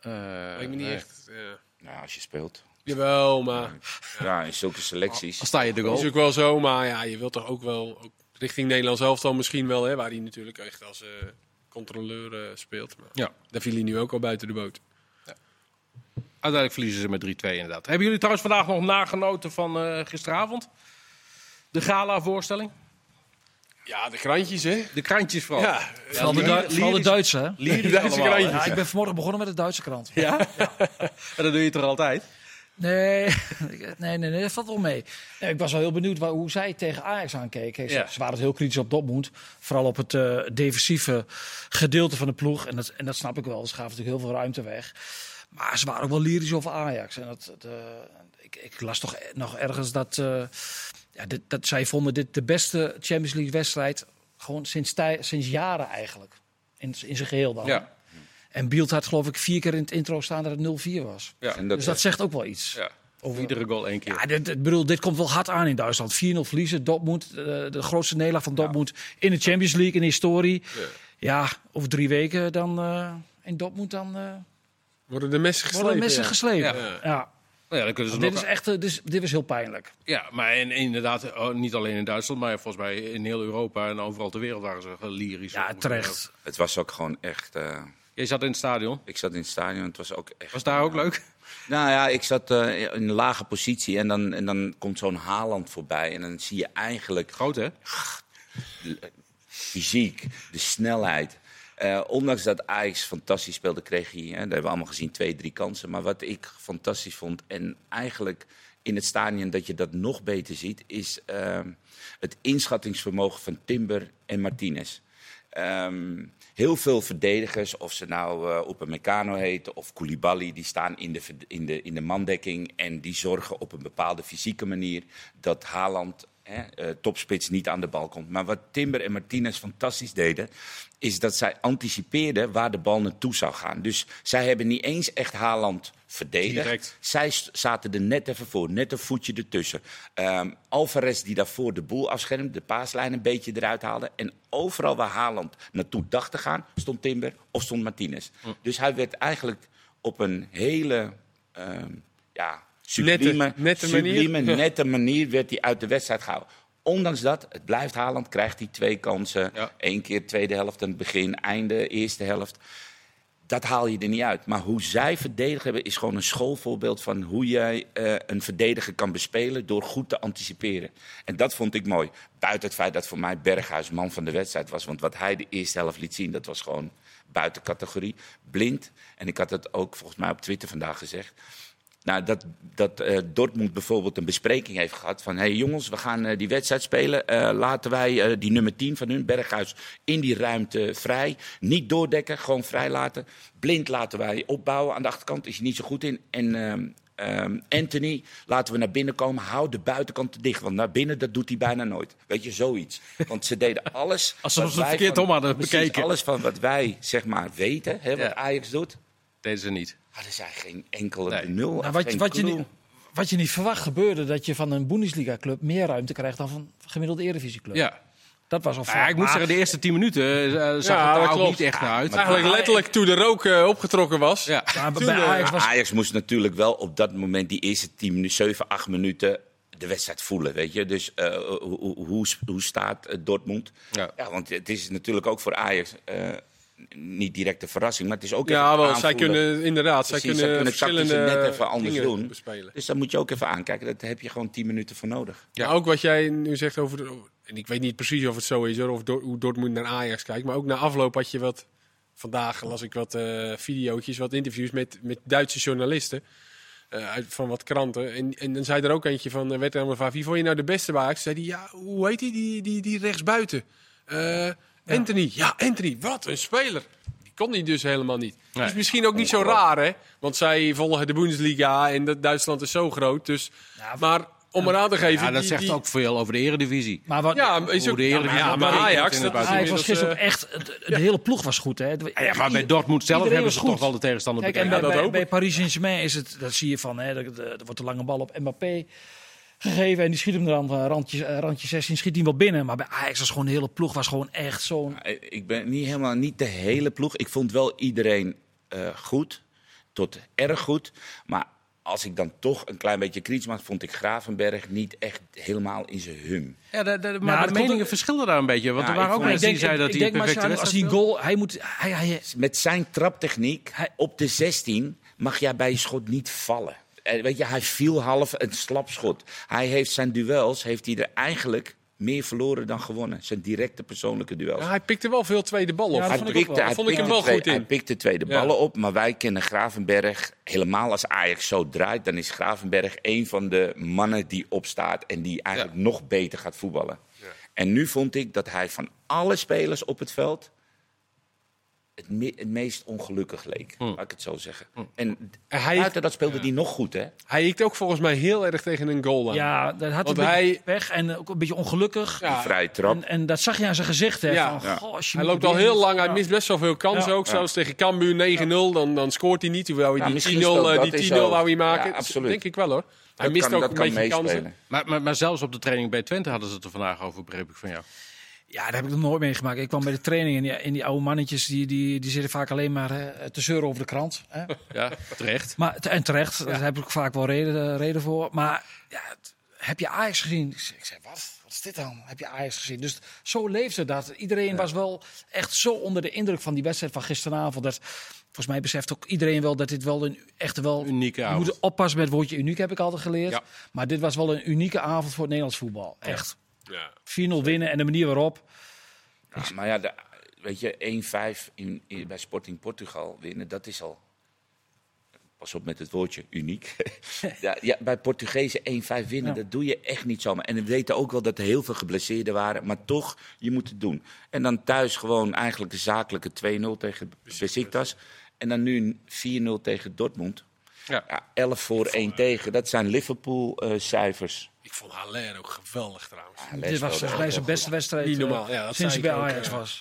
Speaker 1: Eh,
Speaker 4: Lijkt me niet
Speaker 1: nee.
Speaker 4: echt... eh,
Speaker 3: Nou, als je speelt.
Speaker 4: jawel, maar...
Speaker 3: Ja, in zulke selecties.
Speaker 1: Dan sta je de
Speaker 4: Dat is
Speaker 1: goal.
Speaker 4: ook wel zo, maar ja, je wilt toch ook wel... Ook richting Nederland zelf dan misschien wel, hè? Waar hij natuurlijk echt als eh, controleur eh, speelt. Maar
Speaker 1: Ja.
Speaker 4: daar viel hij nu ook al buiten de boot.
Speaker 1: Uiteindelijk verliezen ze met 3-2 inderdaad. Hebben jullie trouwens vandaag nog nagenoten van eh, gisteravond? De gala-voorstelling?
Speaker 4: Ja, de krantjes, hè?
Speaker 1: De krantjes vooral.
Speaker 4: Ja,
Speaker 2: Vooral de,
Speaker 1: Ja,
Speaker 2: Du-
Speaker 1: lyrisch-
Speaker 2: vooral de Duitse. hè?
Speaker 1: Lyrisch
Speaker 4: Duitse
Speaker 1: allemaal, hè?
Speaker 4: krantjes.
Speaker 2: Ja, ik ben vanmorgen begonnen met de Duitse krant.
Speaker 1: Ja? En dat doe je toch altijd?
Speaker 2: Nee, nee, nee, nee, dat valt wel mee. Nee, ik was wel heel benieuwd waar, hoe zij tegen Ajax aankeken. Ze,
Speaker 1: Ja.
Speaker 2: ze waren het heel kritisch op Dortmund. Vooral op het eh, defensieve gedeelte van de ploeg. En dat, en dat snap ik wel. Ze gaven natuurlijk heel veel ruimte weg. Maar ze waren ook wel lyrisch over Ajax. En dat, dat, eh, ik, ik las toch e- nog ergens dat, eh, ja, dit- dat zij vonden dit de beste Champions League wedstrijd... gewoon sinds, tij- sinds jaren eigenlijk. In, in zijn geheel dan.
Speaker 1: Ja.
Speaker 2: En Bielt had geloof ik vier keer in het intro staan dat het 0-4 was.
Speaker 1: ja.
Speaker 3: En dat,
Speaker 2: dus dat zegt ook wel iets.
Speaker 1: ja. Over iedere goal één keer.
Speaker 2: Ja, dit, dit- bedoel, dit komt wel hard aan in Duitsland. 4-0 verliezen, Dortmund, eh, de grootste nederlaag van Dortmund in de Champions League, in de historie. Ja, over drie weken dan eh, in Dortmund dan eh,
Speaker 4: Worden de messen geslepen?
Speaker 2: worden messen
Speaker 4: ja.
Speaker 2: geslepen.
Speaker 1: Ja.
Speaker 2: Ja.
Speaker 1: Nou ja, dan kunnen ze
Speaker 2: Dit
Speaker 1: nog...
Speaker 2: is echt, eh, dit, is, dit was heel pijnlijk.
Speaker 1: Ja, maar en, inderdaad, oh, niet alleen in Duitsland, maar volgens mij in heel Europa en overal ter wereld waren ze eh, lyrisch.
Speaker 2: Ja, terecht.
Speaker 3: het was ook gewoon echt... eh,
Speaker 1: Jij zat in het stadion.
Speaker 3: Ik zat in het stadion, het was ook echt...
Speaker 1: Was daar ook leuk?
Speaker 3: Nou ja, ik zat eh, in een lage positie en dan, en dan komt zo'n Haaland voorbij. En dan zie je eigenlijk
Speaker 1: Groot, hè?
Speaker 3: fysiek, de snelheid. Eh, ondanks dat Ajax fantastisch speelde, kreeg hij, hè, dat hebben we allemaal gezien, twee, drie kansen. Maar wat ik fantastisch vond, en eigenlijk in het stadion dat je dat nog beter ziet, is ehm, het inschattingsvermogen van Timber en Martinez. Ehm, heel veel verdedigers, of ze nou eh Upamecano heten of Koulibaly, die staan in de, verd- in, de, in de mandekking. En die zorgen op een bepaalde fysieke manier dat Haaland hè, eh, topspits niet aan de bal komt. Maar wat Timber en Martinez fantastisch deden, is dat zij anticipeerden waar de bal naartoe zou gaan. Dus zij hebben niet eens echt Haaland verdedigd.
Speaker 4: Direct.
Speaker 3: Zij st- zaten er net even voor, net een voetje ertussen. Ehm Alvarez die daarvoor de boel afschermde, de paaslijn een beetje eruit haalde. En overal waar Haaland naartoe dacht te gaan, stond Timber of stond Martinez.
Speaker 4: Hm.
Speaker 3: Dus hij werd eigenlijk op een hele ehm, ja, sublieme,
Speaker 4: nette manier.
Speaker 3: sublieme, nette manier werd hij uit de wedstrijd gehouden. Ondanks dat, het blijft Haaland, krijgt hij twee kansen.
Speaker 1: Ja.
Speaker 3: Eén keer tweede helft aan het begin, einde eerste helft dat haal je er niet uit. Maar hoe zij verdedigd hebben, is gewoon een schoolvoorbeeld van hoe jij eh, een verdediger kan bespelen door goed te anticiperen. En dat vond ik mooi. Buiten het feit dat voor mij Berghuis man van de wedstrijd was. Want wat hij de eerste helft liet zien, dat was gewoon buiten categorie. Blind. En ik had het ook volgens mij op Twitter vandaag gezegd. Nou, dat, dat eh, Dortmund bijvoorbeeld een bespreking heeft gehad van... hé hey jongens, we gaan eh, die wedstrijd spelen. Eh, laten wij eh, die nummer 10 van hun, Berghuis, in die ruimte vrij. Niet doordekken, gewoon vrij laten. Blind laten wij opbouwen. Aan de achterkant is hij niet zo goed in. En ehm, ehm, Anthony, laten we naar binnen komen. Hou de buitenkant dicht, want naar binnen dat doet hij bijna nooit. Weet je, zoiets. Want ze deden alles...
Speaker 1: Alsof
Speaker 3: wat
Speaker 1: ze het
Speaker 3: wij
Speaker 1: verkeerd om hadden
Speaker 3: precies,
Speaker 1: bekeken.
Speaker 3: alles van wat wij, zeg maar, weten, hè, wat
Speaker 1: Ja.
Speaker 3: Ajax doet...
Speaker 1: Deden ze niet.
Speaker 3: Hadden zij geen enkele
Speaker 1: Nee.
Speaker 3: nul.
Speaker 2: Nou,
Speaker 3: had
Speaker 2: wat,
Speaker 3: geen
Speaker 2: wat, je
Speaker 3: clue.
Speaker 2: niet, wat je niet verwacht gebeurde, dat je van een Bundesliga-club meer ruimte krijgt dan van een gemiddelde Eredivisieclub.
Speaker 1: Ja.
Speaker 2: Dat was al
Speaker 1: Nou ja, ik moet
Speaker 2: Maar-
Speaker 1: zeggen, de eerste tien minuten eh, zag
Speaker 4: Ja,
Speaker 1: het
Speaker 4: dat
Speaker 1: er ook
Speaker 4: klopt.
Speaker 1: niet echt naar uit.
Speaker 4: Eigenlijk letterlijk toen de rook eh, opgetrokken was.
Speaker 1: Ja.
Speaker 2: maar bij Ajax was
Speaker 3: Maar Ajax moest natuurlijk wel op dat moment die eerste 10 minuten, 7, 8 minuten de wedstrijd voelen, weet je. Dus eh, hoe, hoe- hoe, hoe staat eh, Dortmund?
Speaker 1: Ja.
Speaker 3: Ja. want het is natuurlijk ook voor Ajax eh, niet direct een verrassing, maar het is ook
Speaker 4: Ja,
Speaker 3: even
Speaker 4: wel, zij
Speaker 3: aanvoelen.
Speaker 4: kunnen inderdaad, zij
Speaker 3: Precies,
Speaker 4: kunnen,
Speaker 3: tactisch
Speaker 4: verschillende
Speaker 3: net even anders
Speaker 4: dingen
Speaker 3: doen.
Speaker 4: bespelen.
Speaker 3: Dus daar moet je ook even aankijken. Daar heb je gewoon 10 minuten voor nodig.
Speaker 1: Ja.
Speaker 4: Maar ook wat jij nu zegt over, de- en ik weet niet precies of het zo is, hoor, of Dor- hoe Dortmund naar Ajax kijkt, maar ook na afloop had je wat, vandaag las ik wat eh videootjes, wat interviews met, met Duitse journalisten. eh, uit, van wat kranten. En, en dan zei er ook eentje van, eh, werd er aan vraag, wie vond je nou de beste bij Ajax? Zei die, ja, hoe heet die, die, die, die rechtsbuiten? Eh Anthony. Ja, Anthony, wat een speler. Die kon hij dus helemaal niet.
Speaker 1: Nee.
Speaker 4: Dus misschien ook niet zo raar, hè? Want zij volgen de Bundesliga en dat Duitsland is zo groot. Dus,
Speaker 2: Ja,
Speaker 4: maar om eraan te geven...
Speaker 1: Ja, dat
Speaker 4: die-
Speaker 1: zegt
Speaker 4: die-
Speaker 1: ook veel over de eredivisie.
Speaker 2: Maar wat,
Speaker 4: Ja, is
Speaker 1: Hoe
Speaker 4: ook,
Speaker 1: de
Speaker 4: ja,
Speaker 1: Eredivisie
Speaker 4: maar, ja,
Speaker 1: dat
Speaker 4: maar
Speaker 1: berekent
Speaker 4: Ajax, dat
Speaker 1: inderdaad.
Speaker 4: is
Speaker 2: Ajax was
Speaker 4: inmiddels,
Speaker 2: gisteren
Speaker 4: eh,
Speaker 2: echt. De, de hele ploeg was goed, hè?
Speaker 1: Ja, maar bij Dortmund zelf
Speaker 2: Iedereen
Speaker 1: hebben
Speaker 2: was
Speaker 1: ze
Speaker 2: goed.
Speaker 1: toch wel de tegenstander
Speaker 2: Kijk,
Speaker 1: bekeken.
Speaker 2: en
Speaker 4: Ja,
Speaker 2: bij,
Speaker 4: dat
Speaker 2: bij-
Speaker 4: ook.
Speaker 2: bij Paris Saint-Germain is het, dat zie je van, hè, er, er wordt een lange bal op Mbappé gegeven en die schiet hem dan eh, randje, eh, randje 16, schiet hij wel binnen. Maar bij Ajax was gewoon de hele ploeg was gewoon echt zo'n.
Speaker 3: Eh, Ik ben niet helemaal niet de hele ploeg. Ik vond wel iedereen eh, goed, tot erg goed. Maar als ik dan toch een klein beetje kritisch maak, vond ik Gravenberg niet echt helemaal in zijn hum.
Speaker 1: Ja, de, de, maar
Speaker 2: Nou, dat
Speaker 1: de
Speaker 2: komt
Speaker 1: meningen
Speaker 2: ook-
Speaker 1: verschillen daar een beetje. Want
Speaker 3: Ja,
Speaker 1: er waren
Speaker 3: ik
Speaker 1: ook
Speaker 3: vond-
Speaker 1: mensen die
Speaker 2: ik
Speaker 1: zeiden dat hij
Speaker 2: denk
Speaker 1: een perfecte
Speaker 2: Marciano, als hij
Speaker 1: wedstrijd
Speaker 2: een goal, hij moet, hij, hij,
Speaker 3: Met zijn traptechniek
Speaker 2: Hij-
Speaker 3: op de 16 mag jij bij je schot niet vallen. Eh, Weet je, hij viel half een slapschot. Hij heeft zijn duels heeft hij er eigenlijk meer verloren dan gewonnen. Zijn directe persoonlijke duels.
Speaker 4: ja, hij pikte wel veel tweede bal op.
Speaker 2: Ja, dat
Speaker 3: Hij
Speaker 2: vond ik ook
Speaker 3: pikte,
Speaker 2: wel.
Speaker 3: hij,
Speaker 4: Vond ik
Speaker 3: pikte
Speaker 4: hem wel
Speaker 3: twee-
Speaker 4: goed in.
Speaker 3: hij pikte tweede
Speaker 4: Ja.
Speaker 3: ballen op, maar wij kennen Gravenberg helemaal als Ajax zo draait. Dan is Gravenberg een van de mannen die opstaat en die eigenlijk nog beter gaat voetballen. En nu vond ik dat hij van alle spelers op het veld het, me- het meest ongelukkig leek, laat ik het zo zeggen. En
Speaker 4: En Hm. hij-
Speaker 3: buiten dat speelde hij nog goed, hè?
Speaker 4: Hij hikt ook volgens mij heel erg tegen een goal aan.
Speaker 2: ja, dat had
Speaker 4: Want
Speaker 2: hij een
Speaker 4: hij-
Speaker 2: beetje weg en eh, ook een beetje ongelukkig.
Speaker 4: Ja,
Speaker 3: Die vrije trap.
Speaker 2: En, en dat zag je aan zijn gezicht. Hè,
Speaker 4: Ja.
Speaker 2: van,
Speaker 3: Ja.
Speaker 2: goh, als je
Speaker 4: Hij
Speaker 2: moet
Speaker 4: loopt al
Speaker 2: weer-
Speaker 4: heel lang, hij
Speaker 2: Ja.
Speaker 4: mist best wel veel kansen
Speaker 2: Ja.
Speaker 4: ook. Zoals tegen Cambuur 9-0, dan, dan scoort hij niet. Hoewel hij
Speaker 3: Ja,
Speaker 4: die 10-0
Speaker 3: misschien
Speaker 4: eh,
Speaker 3: speelt dat is
Speaker 4: die 10-0 wou hij
Speaker 3: ook.
Speaker 4: maken.
Speaker 3: Ja, absoluut.
Speaker 4: Denk ik wel hoor. Hij
Speaker 3: Dat
Speaker 4: mist
Speaker 3: kan-
Speaker 4: ook
Speaker 3: dat
Speaker 4: een
Speaker 3: kan
Speaker 4: beetje kansen.
Speaker 3: meespelen.
Speaker 1: was. Maar, maar, maar zelfs op de training bij Twente hadden ze het er vandaag over, begreep ik van jou.
Speaker 2: Ja, daar heb ik nog nooit meegemaakt. Ik kwam bij de training en die, en die oude mannetjes die, die, die zitten vaak alleen maar hè, te zeuren over de krant. Hè.
Speaker 1: Ja, terecht.
Speaker 2: Maar, te- en terecht, daar heb ik vaak wel reden, eh, reden voor. Maar ja, het- heb je Ajax gezien? Ik zei, ik zei, wat? Wat is dit dan? Heb je Ajax gezien? Dus zo leefde dat. Iedereen was wel echt zo onder de indruk van die wedstrijd van gisteravond. Dat, volgens mij beseft ook iedereen wel dat dit wel een echt wel...
Speaker 1: Unieke
Speaker 2: je
Speaker 1: avond.
Speaker 2: moet oppassen met het woordje uniek, heb ik altijd geleerd.
Speaker 1: Ja.
Speaker 2: Maar dit was wel een unieke avond voor het Nederlands voetbal. Echt.
Speaker 4: Ja.
Speaker 2: 4-0 winnen en de manier waarop.
Speaker 3: Ja, Ah, maar ja, de- weet je, 1-5 in, in- bij Sporting Portugal winnen, dat is al. Pas op met het woordje uniek. ja, ja, bij Portugezen 1-5 winnen,
Speaker 2: Ja.
Speaker 3: dat doe je echt niet zomaar. En we weten ook wel dat er heel veel geblesseerden waren, maar toch, je moet het doen. En dan thuis gewoon eigenlijk de zakelijke 2-0 tegen Besiktas. En dan nu een 4-0 tegen Dortmund.
Speaker 1: Ja.
Speaker 3: Ja, 11 voor 1 tegen. Dat zijn eh, Liverpool-cijfers.
Speaker 4: Ik vond Haller ook geweldig trouwens.
Speaker 2: Dit was volgens mij zijn beste wedstrijd
Speaker 4: Niet
Speaker 2: eh,
Speaker 4: normaal, ja, dat
Speaker 2: sinds hij
Speaker 4: zei
Speaker 2: bij
Speaker 4: ik ook,
Speaker 2: Ajax
Speaker 4: eh.
Speaker 2: was.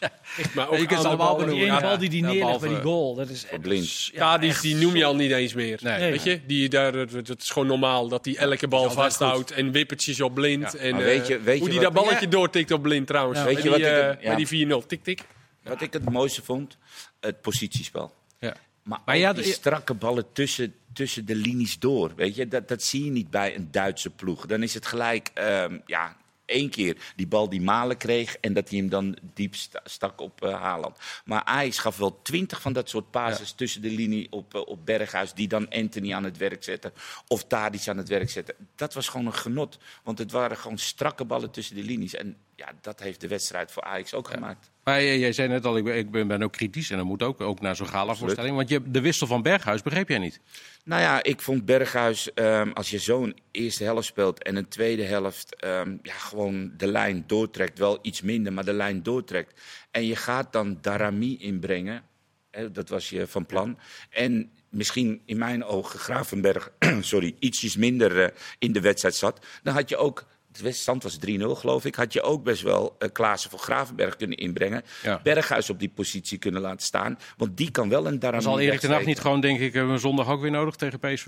Speaker 4: Maar
Speaker 2: je kunt
Speaker 4: aan
Speaker 2: ze
Speaker 4: de
Speaker 2: allemaal
Speaker 4: bal
Speaker 2: die
Speaker 4: benoemen.
Speaker 2: ene bal die die
Speaker 3: Ja,
Speaker 2: neerlegt
Speaker 3: behalve
Speaker 2: bij die goal. Dat is echt,
Speaker 3: Blind.
Speaker 4: Ja, die, die noem je al niet eens meer.
Speaker 1: Nee.
Speaker 4: Weet je, die, daar, het, het is gewoon normaal dat hij elke bal vasthoudt en wippertjes op blind. En,
Speaker 3: Maar weet
Speaker 4: eh,
Speaker 3: je- weet je
Speaker 4: hoe die
Speaker 3: wat-
Speaker 4: dat balletje doortikt op blind trouwens.
Speaker 3: Weet
Speaker 4: Bij
Speaker 3: je
Speaker 4: die,
Speaker 3: wat ik-
Speaker 4: eh,
Speaker 3: ja.
Speaker 4: bij die 4-0, tik tik.
Speaker 3: Wat ik het mooiste vond, het positiespel.
Speaker 1: Ja.
Speaker 3: Maar,
Speaker 1: Maar e-
Speaker 3: ook
Speaker 1: ja,
Speaker 3: die
Speaker 1: de-
Speaker 3: strakke ballen tussen, tussen de linies door. Weet je? Dat, dat zie je niet bij een Duitse ploeg. Dan is het gelijk ehm, ja, één keer die bal die Malen kreeg... en dat hij hem dan diep sta- stak op eh, Haaland. Maar Ajax gaf wel twintig van dat soort passes tussen de linie op, eh, op Berghuis... die dan Anthony aan het werk zetten of Tadic aan het werk zetten. Dat was gewoon een genot. Want het waren gewoon strakke ballen tussen de linies. En ja, dat heeft de wedstrijd voor Ajax ook gemaakt.
Speaker 1: Maar jij, jij zei net al, ik ben, ik ben- ben ook kritisch en dat moet ook, ook naar zo'n gala-voorstelling. Want je, de wissel van Berghuis begreep jij niet.
Speaker 3: Nou ja, ik vond Berghuis, ehm, als je zo'n eerste helft speelt en een tweede helft ehm, ja, gewoon de lijn doortrekt, wel iets minder, maar de lijn doortrekt. En je gaat dan Darami inbrengen, hè, dat was je van plan. En misschien in mijn ogen Gravenberg, sorry, ietsjes minder eh, in de wedstrijd zat. Dan had je ook, de stand was 3-0 geloof ik, had je ook best wel eh Klaassen voor Gravenberg kunnen inbrengen.
Speaker 1: Ja.
Speaker 3: Berghuis op die positie kunnen laten staan, want die kan wel een Darami
Speaker 1: Zal Erik de Nacht
Speaker 3: wegsteken.
Speaker 1: niet gewoon, denk ik, hebben we zondag ook weer nodig tegen PSV?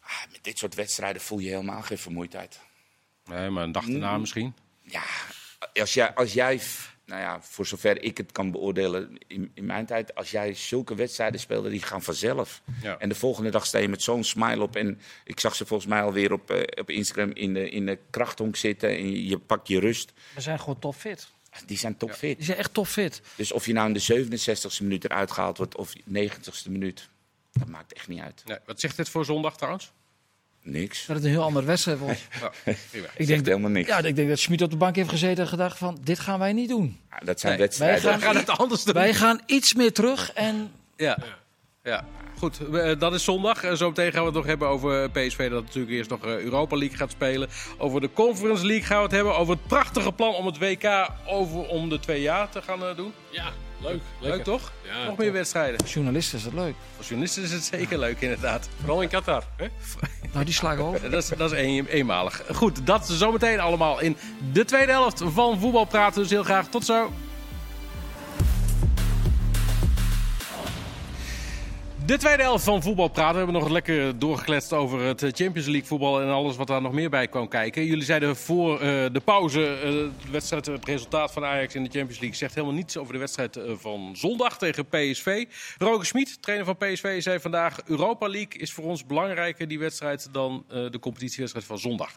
Speaker 3: Ah, met dit soort wedstrijden voel je helemaal geen vermoeidheid.
Speaker 1: Nee, maar een dag daarna misschien.
Speaker 3: Ja, als jij, als jij f- nou ja, voor zover ik het kan beoordelen in, in mijn tijd, als jij zulke wedstrijden speelde, die gaan vanzelf.
Speaker 1: Ja.
Speaker 3: En de volgende dag sta je met zo'n smile op. En ik zag ze volgens mij alweer op, eh, op Instagram in de, in de krachthonk zitten. En je pakt je rust. Ah,
Speaker 2: we zijn gewoon topfit.
Speaker 3: Die zijn topfit.
Speaker 2: Die zijn echt topfit.
Speaker 3: Dus of je nou in de 67ste minuut eruit gehaald wordt of 90ste minuut, dat maakt echt niet uit.
Speaker 1: Nee, wat zegt dit voor zondag trouwens?
Speaker 3: Niks.
Speaker 2: Dat het een heel andere wedstrijd wordt.
Speaker 1: Ja, prima.
Speaker 2: Nou, Ik
Speaker 3: Zegt
Speaker 2: denk, dat-
Speaker 3: helemaal niks.
Speaker 2: ja, ik denk dat Schmid op de bank heeft gezeten en gedacht van, dit gaan wij niet doen.
Speaker 3: Ah, Dat zijn
Speaker 1: Nee,
Speaker 3: wedstrijden.
Speaker 2: wij gaan-
Speaker 1: We gaan het anders doen.
Speaker 2: Wij gaan iets meer terug en
Speaker 1: Ja. ja. Goed, we- eh, dat is zondag. Eh, Zometeen gaan we het nog hebben over eh, PSV, dat natuurlijk eerst nog eh, Europa League gaat spelen. Over de Conference League gaan we het hebben. Over het prachtige plan om het WK over om de twee jaar te gaan eh, doen.
Speaker 4: Ja, leuk.
Speaker 1: Leuk toch?
Speaker 4: Ja,
Speaker 1: nog
Speaker 4: top.
Speaker 1: meer wedstrijden.
Speaker 2: voor journalisten is dat leuk.
Speaker 1: Voor journalisten is het zeker leuk, inderdaad.
Speaker 4: Vooral in Qatar. Hè?
Speaker 2: Nou, die slagen we over.
Speaker 1: Eh, Dat is, dat is een, eenmalig. Goed, dat zometeen allemaal in de tweede helft van Voetbal Praten. Dus heel graag tot zo. De tweede helft van voetbal praten. We hebben nog lekker doorgekletst over het eh, Champions League voetbal en alles wat daar nog meer bij kwam kijken. Jullie zeiden voor eh, de pauze, eh, de wedstrijd, het resultaat van Ajax in de Champions League zegt helemaal niets over de wedstrijd eh, van zondag tegen PSV. Roger Smit, trainer van PSV, zei vandaag Europa League is voor ons belangrijker die wedstrijd dan eh, de competitiewedstrijd van zondag.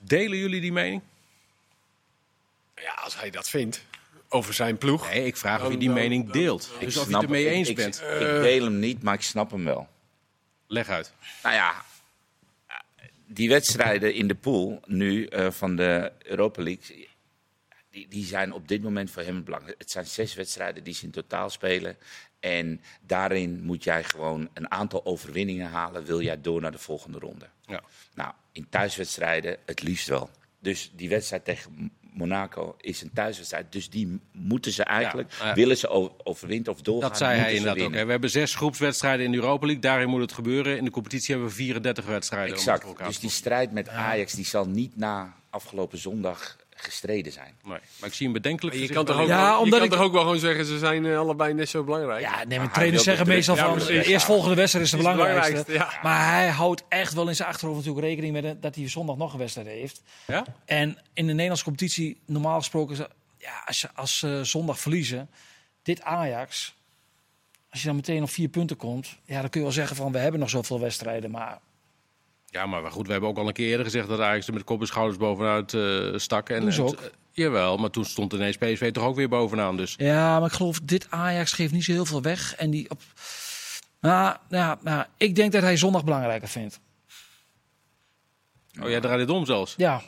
Speaker 1: Delen jullie die mening?
Speaker 4: Ja, als hij dat vindt over zijn ploeg.
Speaker 1: Nee, ik vraag of je die mening deelt.
Speaker 3: Ik
Speaker 1: Dus of je
Speaker 3: snap-
Speaker 1: het ermee
Speaker 3: ik-
Speaker 1: eens
Speaker 3: ik-
Speaker 1: bent. Eh.
Speaker 3: Ik deel hem niet, maar ik snap hem wel.
Speaker 1: Leg uit.
Speaker 3: Nou ja, die wedstrijden in de pool nu eh, van de Europa League. Die, die zijn op dit moment voor hem belangrijk. Het zijn zes wedstrijden die ze in totaal spelen. En daarin moet jij gewoon een aantal overwinningen halen. Wil jij door naar de volgende ronde?
Speaker 1: Ja.
Speaker 3: Nou, in thuiswedstrijden het liefst wel. Dus die wedstrijd tegen Monaco is een thuiswedstrijd. Dus die m- moeten ze eigenlijk.
Speaker 1: nou ja.
Speaker 3: Willen ze o- overwinnen of doorgaan?
Speaker 1: Dat zei hij
Speaker 3: moeten ze
Speaker 1: inderdaad ook.
Speaker 3: winnen.
Speaker 1: hè. We hebben zes groepswedstrijden in de Europa League. Daarin moet het gebeuren. In de competitie hebben we 34 wedstrijden. om het voor
Speaker 3: Exact.
Speaker 1: elkaar
Speaker 3: Dus
Speaker 1: te
Speaker 3: die strijd met Ajax die zal niet na afgelopen zondag gestreden zijn.
Speaker 1: krijgen. Nee. Maar ik zie een bedenkelijk
Speaker 4: Maar je kan
Speaker 1: gezicht
Speaker 4: toch
Speaker 1: bij
Speaker 4: ook,
Speaker 1: Leo.
Speaker 2: Ja,
Speaker 4: wel, je
Speaker 2: omdat
Speaker 4: kan
Speaker 2: ik-
Speaker 4: toch ook wel gewoon zeggen, ze zijn eh, allebei net zo belangrijk.
Speaker 2: Ja, nee, maar
Speaker 3: hij
Speaker 2: trainers
Speaker 3: wil de
Speaker 2: zeggen meestal
Speaker 3: druk-
Speaker 2: van,
Speaker 3: Ja,
Speaker 2: de
Speaker 3: precies.
Speaker 2: eerstvolgende wedstrijd is de
Speaker 4: Is het
Speaker 2: belangrijkste.
Speaker 4: belangrijkste,
Speaker 2: Maar hij houdt echt wel in zijn achterhoofd natuurlijk rekening met eh, dat hij zondag nog een wedstrijd heeft.
Speaker 1: Ja?
Speaker 2: En in de Nederlandse competitie, normaal gesproken, is dat- ja, als ze als ze zondag verliezen, dit Ajax, als je dan meteen op vier punten komt, ja, dan kun je wel zeggen van we hebben nog zoveel wedstrijden, maar
Speaker 1: ja, maar goed, we hebben ook al een keer eerder gezegd dat Ajax er met kop en schouders bovenuit eh, stak. En,
Speaker 2: Doen ze
Speaker 1: en-
Speaker 2: ook.
Speaker 1: eh, jawel, maar toen stond ineens PSV toch ook weer bovenaan. Dus
Speaker 2: ja, maar ik geloof dit Ajax geeft niet zo heel veel weg en die op. Nou, nou, nou, ik denk dat hij zondag belangrijker vindt.
Speaker 1: oh, jij draait het om zelfs.
Speaker 2: Ja,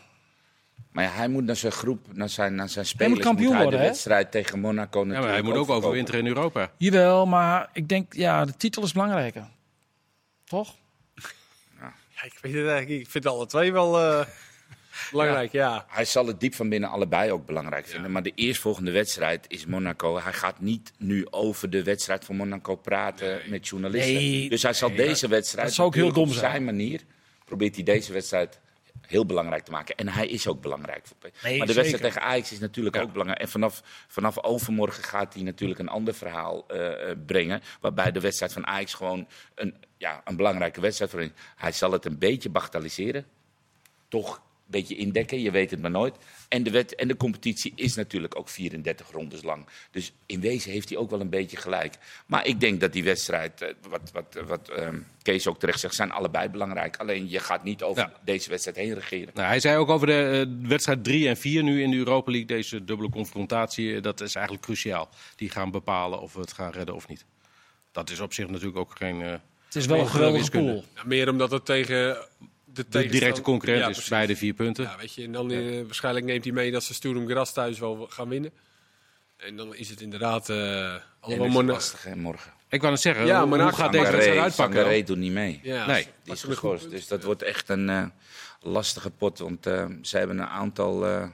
Speaker 3: Maar ja, hij moet naar zijn groep, naar zijn, naar zijn spelers.
Speaker 2: kampioen
Speaker 3: moet hij
Speaker 2: worden,
Speaker 3: de
Speaker 2: hè?
Speaker 3: wedstrijd tegen Monaco
Speaker 1: Ja, maar hij
Speaker 3: natuurlijk
Speaker 1: moet ook
Speaker 3: verkopen.
Speaker 1: overwinteren in Europa.
Speaker 2: jawel, maar ik denk ja, de titel is belangrijker, toch?
Speaker 4: Ja, ik, weet het eigenlijk, niet. ik vind alle twee wel... eh, Belangrijk, ja.
Speaker 3: Hij zal het diep van binnen allebei ook belangrijk vinden. Maar de eerstvolgende wedstrijd is Monaco. Hij gaat niet nu over de wedstrijd van Monaco praten met journalisten.
Speaker 2: Nee.
Speaker 3: dus hij zal deze wedstrijd
Speaker 2: dat zou ook heel
Speaker 3: natuurlijk
Speaker 2: dom
Speaker 3: op zijn manier... probeert hij deze wedstrijd heel belangrijk te maken. En hij is ook belangrijk. voor PSV.
Speaker 2: Nee,
Speaker 3: maar de
Speaker 2: zeker.
Speaker 3: wedstrijd tegen Ajax is natuurlijk ook belangrijk. En vanaf, vanaf overmorgen gaat hij natuurlijk een ander verhaal eh, eh, brengen... waarbij de wedstrijd van Ajax gewoon een, ja, een belangrijke wedstrijd voor hem is. Hij zal het een beetje bagatelliseren toch een beetje indekken. Je weet het maar nooit. En de, wet, en de competitie is natuurlijk ook 34 rondes lang. Dus in wezen heeft hij ook wel een beetje gelijk. Maar ik denk dat die wedstrijd, eh, wat, wat, eh, wat ehm, Kees ook terecht zegt, zijn allebei belangrijk. Alleen je gaat niet over
Speaker 1: Ja.
Speaker 3: deze wedstrijd heen regeren.
Speaker 1: Nou, hij zei ook over de eh, wedstrijd 3 en 4 nu in de Europa League. Deze dubbele confrontatie, eh, dat is eigenlijk cruciaal. Die gaan bepalen of we het gaan redden of niet. Dat is op zich natuurlijk ook geen... eh,
Speaker 2: Het is wel een
Speaker 1: Nee,
Speaker 2: geweldige
Speaker 1: wiskunde.
Speaker 2: pool.
Speaker 4: Ja, meer omdat het tegen de,
Speaker 1: De directe concurrent
Speaker 4: Ja,
Speaker 1: is
Speaker 4: precies.
Speaker 1: bij de vier punten.
Speaker 4: Ja, weet je, en dan eh, waarschijnlijk neemt hij mee dat ze Sturm Gras thuis wel gaan winnen. En dan is het inderdaad eh
Speaker 3: En dat
Speaker 4: allemaal
Speaker 3: is
Speaker 4: Mona-
Speaker 3: lastig hè, morgen.
Speaker 1: Ik wou net zeggen,
Speaker 4: Ja,
Speaker 1: hoe, hoe
Speaker 4: maar nou
Speaker 1: gaat
Speaker 4: gaat
Speaker 1: Ah, deze
Speaker 4: Marco
Speaker 1: wedstrijd
Speaker 3: Sangaré,
Speaker 1: uitpakken?
Speaker 3: Sangaré doet niet mee.
Speaker 4: Ja,
Speaker 1: Nee,
Speaker 4: als-
Speaker 1: die
Speaker 3: Die
Speaker 4: als
Speaker 3: is
Speaker 4: ze een goed
Speaker 3: geschorst.
Speaker 4: punt-
Speaker 3: Dus dat wordt echt een eh, lastige pot. Want eh, ze hebben een aantal eh,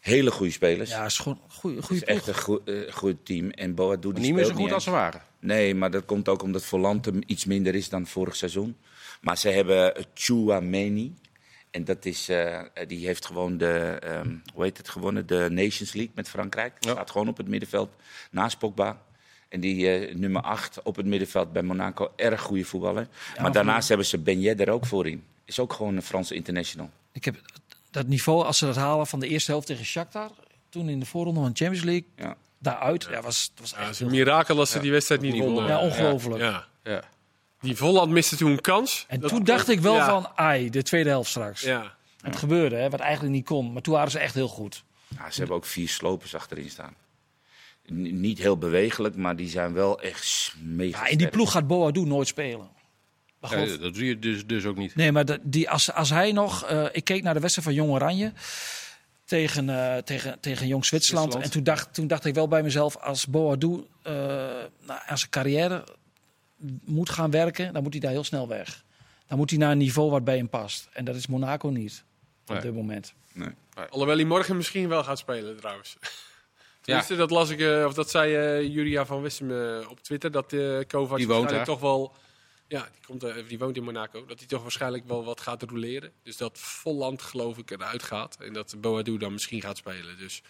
Speaker 3: hele goede spelers.
Speaker 2: Ja, is gewoon een goede,
Speaker 3: Het
Speaker 2: goede
Speaker 3: is echt
Speaker 2: ploeg.
Speaker 3: een goed, eh, goed team. En Boadu die
Speaker 1: Niet meer zo
Speaker 3: speelt
Speaker 1: goed als
Speaker 3: eens.
Speaker 1: ze waren.
Speaker 3: Nee, maar dat komt ook omdat Volantum iets minder is dan vorig seizoen. Maar ze hebben Chouameni. En dat is, eh, die heeft gewoon de, ehm, hoe heet het, gewonnen? De Nations League met Frankrijk. Staat gewoon op het middenveld naast Pogba. En die eh, nummer 8 op het middenveld bij Monaco. Erg goede voetballer. maar daarnaast hebben ze Ben Yedder ook voorin. Is ook gewoon een Franse international.
Speaker 2: Ik heb dat niveau, als ze dat halen van de eerste helft tegen Shakhtar, toen in de voorronde van de Champions League,
Speaker 3: Ja.
Speaker 2: daaruit, ja, was, was
Speaker 4: Ja, het
Speaker 2: echt
Speaker 4: is een mirakel als ze die wedstrijd niet wonnen.
Speaker 2: ja, ongelooflijk.
Speaker 4: Ja.
Speaker 1: Ja.
Speaker 4: Die Volland miste toen een kans.
Speaker 2: En
Speaker 4: Dat-
Speaker 2: toen dacht ik wel
Speaker 4: Ja.
Speaker 2: van, ai, de tweede helft straks.
Speaker 4: Ja.
Speaker 2: Het gebeurde, hè, wat eigenlijk niet kon. Maar toen waren ze echt heel goed.
Speaker 3: Ja, ze hebben ook vier slopers achterin staan. N- niet heel bewegelijk, maar die zijn wel echt s- mega
Speaker 2: Ja, in die
Speaker 3: sterk.
Speaker 2: ploeg gaat Boadu nooit spelen. Maar goed.
Speaker 1: Ja, dat zie je dus, dus ook niet.
Speaker 2: Nee, maar dat- die, als, als hij nog... eh, ik keek naar de wedstrijd van Jong Oranje tegen, eh, tegen, tegen Jong Zwitserland.
Speaker 1: Zwitserland.
Speaker 2: En toen dacht, toen dacht ik wel bij mezelf, als Boadu eh nou, aan zijn carrière moet gaan werken, dan moet hij daar heel snel weg. Dan moet hij naar een niveau wat bij hem past. En dat is Monaco niet op
Speaker 1: Nee.
Speaker 2: dit moment.
Speaker 3: Nee.
Speaker 4: Alhoewel hij morgen misschien wel gaat spelen trouwens. Tenminste, dat las ik, eh, of dat zei eh, Julia van Wissem eh, op Twitter, dat eh
Speaker 1: Die
Speaker 4: Kovac
Speaker 1: woont
Speaker 4: waarschijnlijk
Speaker 1: daar.
Speaker 4: toch wel... Ja, die, komt, eh, die woont in Monaco. Dat hij toch waarschijnlijk wel wat gaat roleren. Dus dat Volland geloof ik eruit gaat. En dat Boadu dan misschien gaat spelen. Dus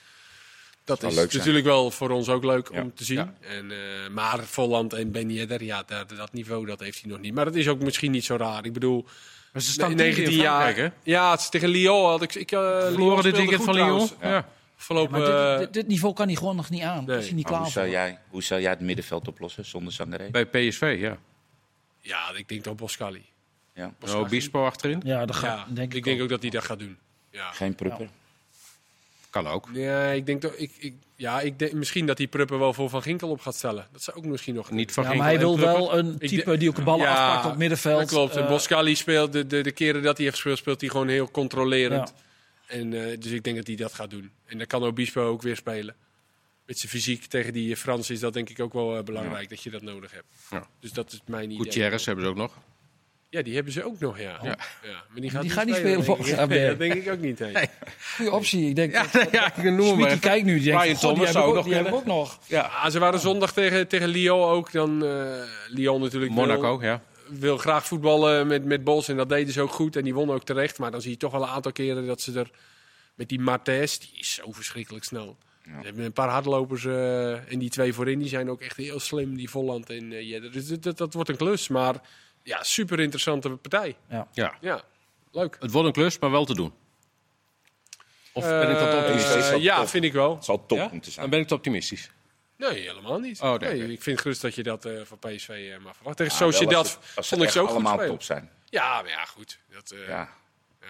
Speaker 4: dat
Speaker 3: Zou
Speaker 4: is dus
Speaker 3: leuk zijn.
Speaker 4: natuurlijk wel voor ons ook leuk
Speaker 3: Ja.
Speaker 4: om te zien.
Speaker 1: Ja.
Speaker 4: En, eh, maar Volland en Ben Yedder, ja, dat, dat niveau dat heeft hij nog niet. Maar dat is ook misschien niet zo raar. Ik bedoel,
Speaker 1: Maar ze staan
Speaker 4: Nee,
Speaker 1: 19 jaar. hè?
Speaker 4: Ja, het is tegen Lyon. Had ik, ik, eh, Lyon
Speaker 1: Verloren dit
Speaker 4: speelde
Speaker 1: weekend
Speaker 4: goed
Speaker 1: van Lyon.
Speaker 4: trouwens.
Speaker 1: Ja.
Speaker 4: Afgelopen,
Speaker 2: Maar dit,
Speaker 4: eh,
Speaker 2: dit, dit niveau kan hij gewoon nog niet aan.
Speaker 4: nee.
Speaker 2: Is hij niet
Speaker 3: Maar hoe,
Speaker 2: klaar voor.
Speaker 3: zou jij, hoe zou jij het middenveld oplossen zonder Sangaré?
Speaker 1: Bij PSV, ja.
Speaker 4: eh, ja, ik denk dat Boscali.
Speaker 3: Ja.
Speaker 1: En Obispo achterin.
Speaker 2: Ja, dat
Speaker 4: Ja,
Speaker 2: gaat, denk
Speaker 4: ik,
Speaker 2: ik,
Speaker 4: denk
Speaker 2: ook.
Speaker 4: ook dat hij dat gaat doen. Ja,
Speaker 3: Geen Prupper?
Speaker 1: Kan ook.
Speaker 4: nee, ik denk toch, ik, ik, ja, ik denk misschien dat die Pruppen wel voor Van Ginkel op gaat stellen. Dat zou ook misschien nog.
Speaker 1: Niet van
Speaker 2: Ja,
Speaker 1: Ginkel
Speaker 2: maar hij
Speaker 1: en
Speaker 2: wil
Speaker 1: Prupper.
Speaker 2: wel een
Speaker 4: Ik
Speaker 2: type
Speaker 4: denk-
Speaker 2: die ook de ballen
Speaker 4: Ja,
Speaker 2: afpakt op het middenveld.
Speaker 4: Dat klopt. En
Speaker 2: Eh,
Speaker 4: Boscali speelt de, de, de keren dat hij heeft gespeeld, speelt hij gewoon heel controlerend. En, eh, dus ik denk dat hij dat gaat doen. En dan kan Obispo ook weer spelen. Met zijn fysiek tegen die Frans is dat denk ik ook wel eh, belangrijk dat je dat nodig hebt.
Speaker 1: Ja.
Speaker 4: Dus dat is mijn idee.
Speaker 1: Gutierrez hebben ze ook nog.
Speaker 4: Ja, die hebben ze ook nog, ja. ja. Maar die gaat,
Speaker 2: Die gaat niet spelen
Speaker 4: denk ik.
Speaker 2: volgend jaar
Speaker 4: Nee,
Speaker 2: meer.
Speaker 4: dat denk ik ook niet. hè.
Speaker 2: Goede optie. Ik denk, dat-
Speaker 1: ja, ik noem
Speaker 2: Schmid, die kijkt nu, die denkt,
Speaker 1: Brian
Speaker 2: "God, die
Speaker 1: Thomas
Speaker 2: heb
Speaker 1: zou
Speaker 2: ik
Speaker 1: ook
Speaker 2: ook- die
Speaker 1: nog
Speaker 2: heb ik ook nog.
Speaker 4: Ah, ze waren zondag tegen, tegen Lyon ook. Dan, eh, Lyon natuurlijk wil-
Speaker 1: Monaco, ja.
Speaker 4: Wil, graag voetballen met, met Bos en dat deden ze ook goed. En die wonnen ook terecht. Maar dan zie je toch wel een aantal keren dat ze er... Met die Martes, die is zo verschrikkelijk snel. Ze hebben een paar hardlopers eh, en die twee voorin. Die zijn ook echt heel slim, die Volland en eh Jedder. Dus dat, dat, dat wordt een klus. Maar ja, super interessante partij.
Speaker 1: ja.
Speaker 4: Ja, leuk.
Speaker 1: Het wordt een klus, maar wel te doen. Of ben ik dat
Speaker 4: Eh,
Speaker 1: optimistisch?
Speaker 3: optimistisch?
Speaker 4: ja, vind ik wel.
Speaker 3: Het zal top
Speaker 1: Ja?
Speaker 3: moeten
Speaker 1: Dan
Speaker 3: zijn.
Speaker 1: ben ik te optimistisch.
Speaker 4: Nee, helemaal niet.
Speaker 1: Oh, nee,
Speaker 4: nee,
Speaker 1: oké.
Speaker 4: Ik vind gerust dat je dat eh van PSV eh, mag verwachten. Tegen
Speaker 3: Ja, wel als
Speaker 4: Sociedad
Speaker 3: het- als ze
Speaker 4: vond ik
Speaker 3: echt
Speaker 4: ze ook goed
Speaker 3: allemaal
Speaker 4: spelen.
Speaker 3: top zijn.
Speaker 4: Ja, maar ja, goed. Dat, eh, ja.
Speaker 3: Ja.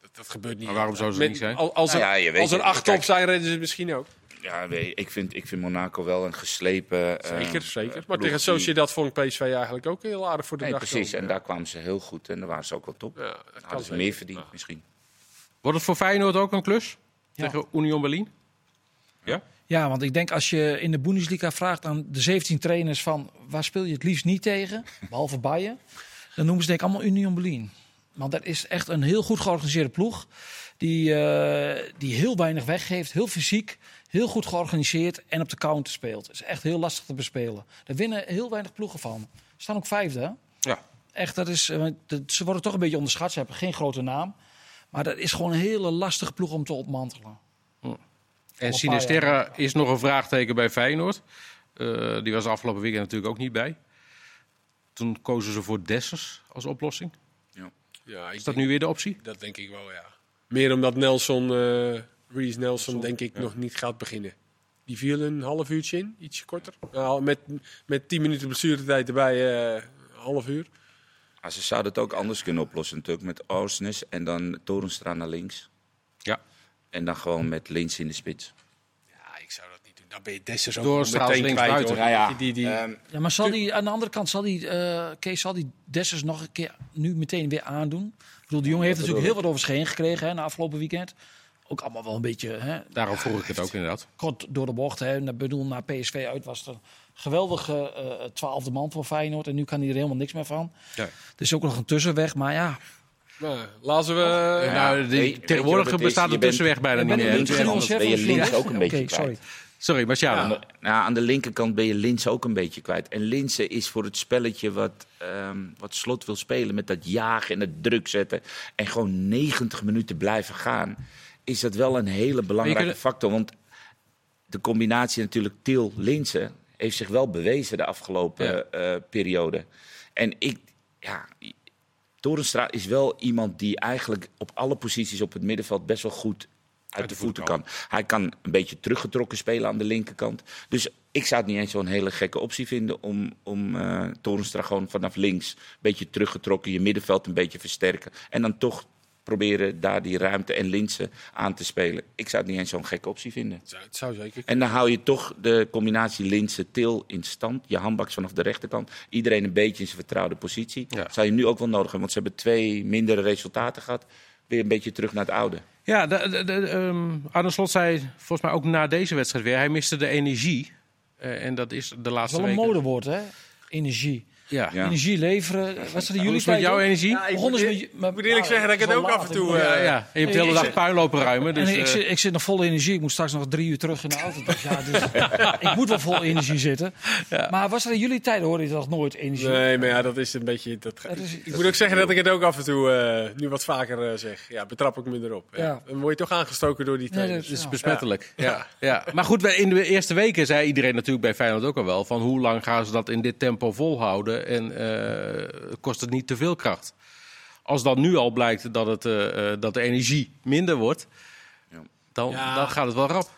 Speaker 4: dat, dat gebeurt niet.
Speaker 1: Maar waarom zou ze
Speaker 4: Met-
Speaker 1: niet zijn?
Speaker 4: al- Als er,
Speaker 3: Nou ja, je weet
Speaker 4: als er
Speaker 3: het.
Speaker 4: acht
Speaker 3: Kijk.
Speaker 4: top zijn, redden ze het misschien ook.
Speaker 3: Ja, weet je, ik, vind, ik vind Monaco wel een geslepen. eh,
Speaker 4: Zeker, zeker. Maar
Speaker 3: ploeg
Speaker 4: tegen
Speaker 3: die-
Speaker 4: Sociedad vond ik PSV eigenlijk ook heel aardig voor de
Speaker 3: Nee,
Speaker 4: dag.
Speaker 3: precies.
Speaker 4: komen.
Speaker 3: En daar kwamen ze heel goed en daar waren ze ook wel top.
Speaker 4: Ja, dat
Speaker 3: Dan
Speaker 4: kan
Speaker 3: hadden ze
Speaker 4: zeker.
Speaker 3: meer verdiend
Speaker 4: Ja.
Speaker 3: misschien.
Speaker 1: Wordt het voor Feyenoord ook een klus?
Speaker 2: Ja.
Speaker 1: Tegen Union Berlin? Ja?
Speaker 2: Ja, want ik denk als je in de Bundesliga vraagt aan de 17 trainers van waar speel je het liefst niet tegen, behalve Bayern, dan noemen ze denk ik allemaal Union Berlin. Want dat is echt een heel goed georganiseerde ploeg. Die, eh, die heel weinig weggeeft. Heel fysiek. Heel goed georganiseerd. En op de counter speelt. Het is echt heel lastig te bespelen. Daar winnen heel weinig ploegen van. Ze staan ook vijfde. hè?
Speaker 1: Ja.
Speaker 2: Echt, dat is, eh, dat- ze worden toch een beetje onderschat. Ze hebben geen grote naam. Maar dat is gewoon een hele lastige ploeg om te opmantelen.
Speaker 1: En
Speaker 2: Al een paar
Speaker 1: Sinisterra is nog een vraagteken bij Feyenoord. Eh, die was afgelopen weekend natuurlijk ook niet bij. Toen kozen ze voor Dessers als oplossing.
Speaker 4: Ja, ik
Speaker 1: Is dat nu weer de optie?
Speaker 4: Dat denk ik wel, ja. Meer omdat Nelson, eh Reece Nelson, denk ik, nog niet gaat beginnen. Die viel een half uurtje in, ietsje korter. Nou, met, met 10 minuten blessuretijd erbij, eh half uur.
Speaker 3: Ah, ze zouden het ook anders kunnen oplossen natuurlijk. Met Oosnes en dan Torenstra naar links.
Speaker 1: Ja.
Speaker 3: En dan gewoon met Lins in de spits.
Speaker 4: Ja, ik zou dat niet doen. Dan ben je Dessers
Speaker 1: ook Door meteen Strauss links kwijt, buiten. hoor.
Speaker 3: Nou ja,
Speaker 4: Die, die,
Speaker 3: ehm,
Speaker 2: Ja, maar zal die, aan de andere kant zal die, eh, Kees zal die Dessers nog een keer nu meteen weer aandoen? Ik bedoel, de jongen heeft natuurlijk heel wat over scheen gekregen hè, na afgelopen weekend. Ook allemaal wel een beetje hè,
Speaker 1: Daarom vroeg ik het ook inderdaad.
Speaker 2: kort door de bocht. Hè. Ik bedoel, naar PSV uit was het een geweldige eh, twaalfde man voor Feyenoord. En nu kan hij er helemaal niks meer van.
Speaker 1: Ja.
Speaker 2: Er is ook nog een tussenweg, maar ja.
Speaker 4: nou, laten we...
Speaker 1: nou, die-
Speaker 3: weet- weet je
Speaker 1: tegenwoordig
Speaker 3: wat het is?
Speaker 1: bestaat
Speaker 3: Je
Speaker 1: de
Speaker 3: bent-
Speaker 1: tussenweg bijna
Speaker 2: Ik
Speaker 1: niet
Speaker 2: ben
Speaker 1: meer.
Speaker 2: een
Speaker 3: links
Speaker 2: beetje
Speaker 3: en
Speaker 2: Giel
Speaker 3: anders ben je
Speaker 2: Sheffield
Speaker 3: links
Speaker 2: United.
Speaker 3: ook een beetje
Speaker 2: Oké, sorry.
Speaker 3: kwijt.
Speaker 1: Sorry, maar ja,
Speaker 3: Aan de, nou, aan de linkerkant ben je Lins ook een beetje kwijt. En Linsen is voor het spelletje wat, ehm, wat Slot wil spelen... met dat jagen en het druk zetten... en gewoon 90 minuten blijven gaan... is dat wel een hele belangrijke
Speaker 1: kunt-
Speaker 3: factor. Want de combinatie natuurlijk Til-Linsen... heeft zich wel bewezen de afgelopen eh, periode. En ik... Ja, Torenstra is wel iemand die eigenlijk op alle posities op het middenveld best wel goed uit, de, voeten kan. Hij kan een beetje teruggetrokken spelen aan de linkerkant. Dus ik zou het niet eens zo'n hele gekke optie vinden om, om eh, Torenstra gewoon vanaf links een beetje teruggetrokken, je middenveld een beetje versterken. En dan toch proberen daar die ruimte en linsen aan te spelen. Ik zou het niet eens zo'n gekke optie vinden.
Speaker 4: zou- Het zou zeker
Speaker 3: En dan hou je toch de combinatie Linse-Til in stand. Je handbaks vanaf de rechterkant. Iedereen een beetje in zijn vertrouwde positie.
Speaker 1: Ja.
Speaker 3: Zou je nu ook wel nodig hebben, want ze hebben twee mindere resultaten gehad. Weer een beetje terug naar het oude.
Speaker 1: Ja, de, de, de, ehm, Arne Slot zei volgens mij ook na deze wedstrijd weer... hij miste de energie. Eh, en dat is de
Speaker 2: Dat
Speaker 1: laatste
Speaker 2: is wel een
Speaker 1: weken...
Speaker 2: modewoord, hè? Energie.
Speaker 1: Ja.
Speaker 3: Ja.
Speaker 2: Energie leveren. Wat is er
Speaker 1: Hoe is
Speaker 2: jullie
Speaker 1: het met
Speaker 2: tijd
Speaker 1: jouw
Speaker 2: ook?
Speaker 1: energie?
Speaker 4: Ja, ik
Speaker 2: Begonnen ze
Speaker 4: moet-
Speaker 2: met- met-
Speaker 4: moet
Speaker 2: nou,
Speaker 4: eerlijk zeggen dat ik
Speaker 2: het is
Speaker 4: het
Speaker 2: wel
Speaker 4: ook af
Speaker 2: laat,
Speaker 4: en toe,
Speaker 2: ik bedoel,
Speaker 1: Ja,
Speaker 4: eh,
Speaker 1: ja. En je hebt de hele dag puin lopen ruimen. Dus,
Speaker 2: en ik,
Speaker 1: eh,
Speaker 2: zit, ik zit nog vol energie. Ik moet straks nog drie uur terug in de auto. Ik dacht, ja, dus, ik moet wel vol energie zitten. Maar was er in jullie tijd, hoorde je dat nooit energie?
Speaker 4: Nee, maar ja, dat is een beetje... Dat, ga-
Speaker 2: Dat is-
Speaker 4: ik moet ook zeggen dat ik het ook af en toe eh, nu wat vaker eh, zeg. Ja, betrap ik me erop. Ja.
Speaker 2: Ja.
Speaker 4: Dan word je toch aangestoken door die
Speaker 2: Nee,
Speaker 4: trainers.
Speaker 2: dat
Speaker 1: Het is
Speaker 2: Ja.
Speaker 1: besmettelijk. Ja. Ja. Maar goed, wij- in de eerste weken zei iedereen natuurlijk bij Feyenoord ook al wel... van hoe lang gaan ze dat in dit tempo volhouden en eh, kost het niet te veel kracht. Als dan nu al blijkt dat, het, eh, eh, dat de energie minder wordt,
Speaker 3: Ja.
Speaker 1: dan,
Speaker 4: Ja.
Speaker 1: dan gaat het wel rap.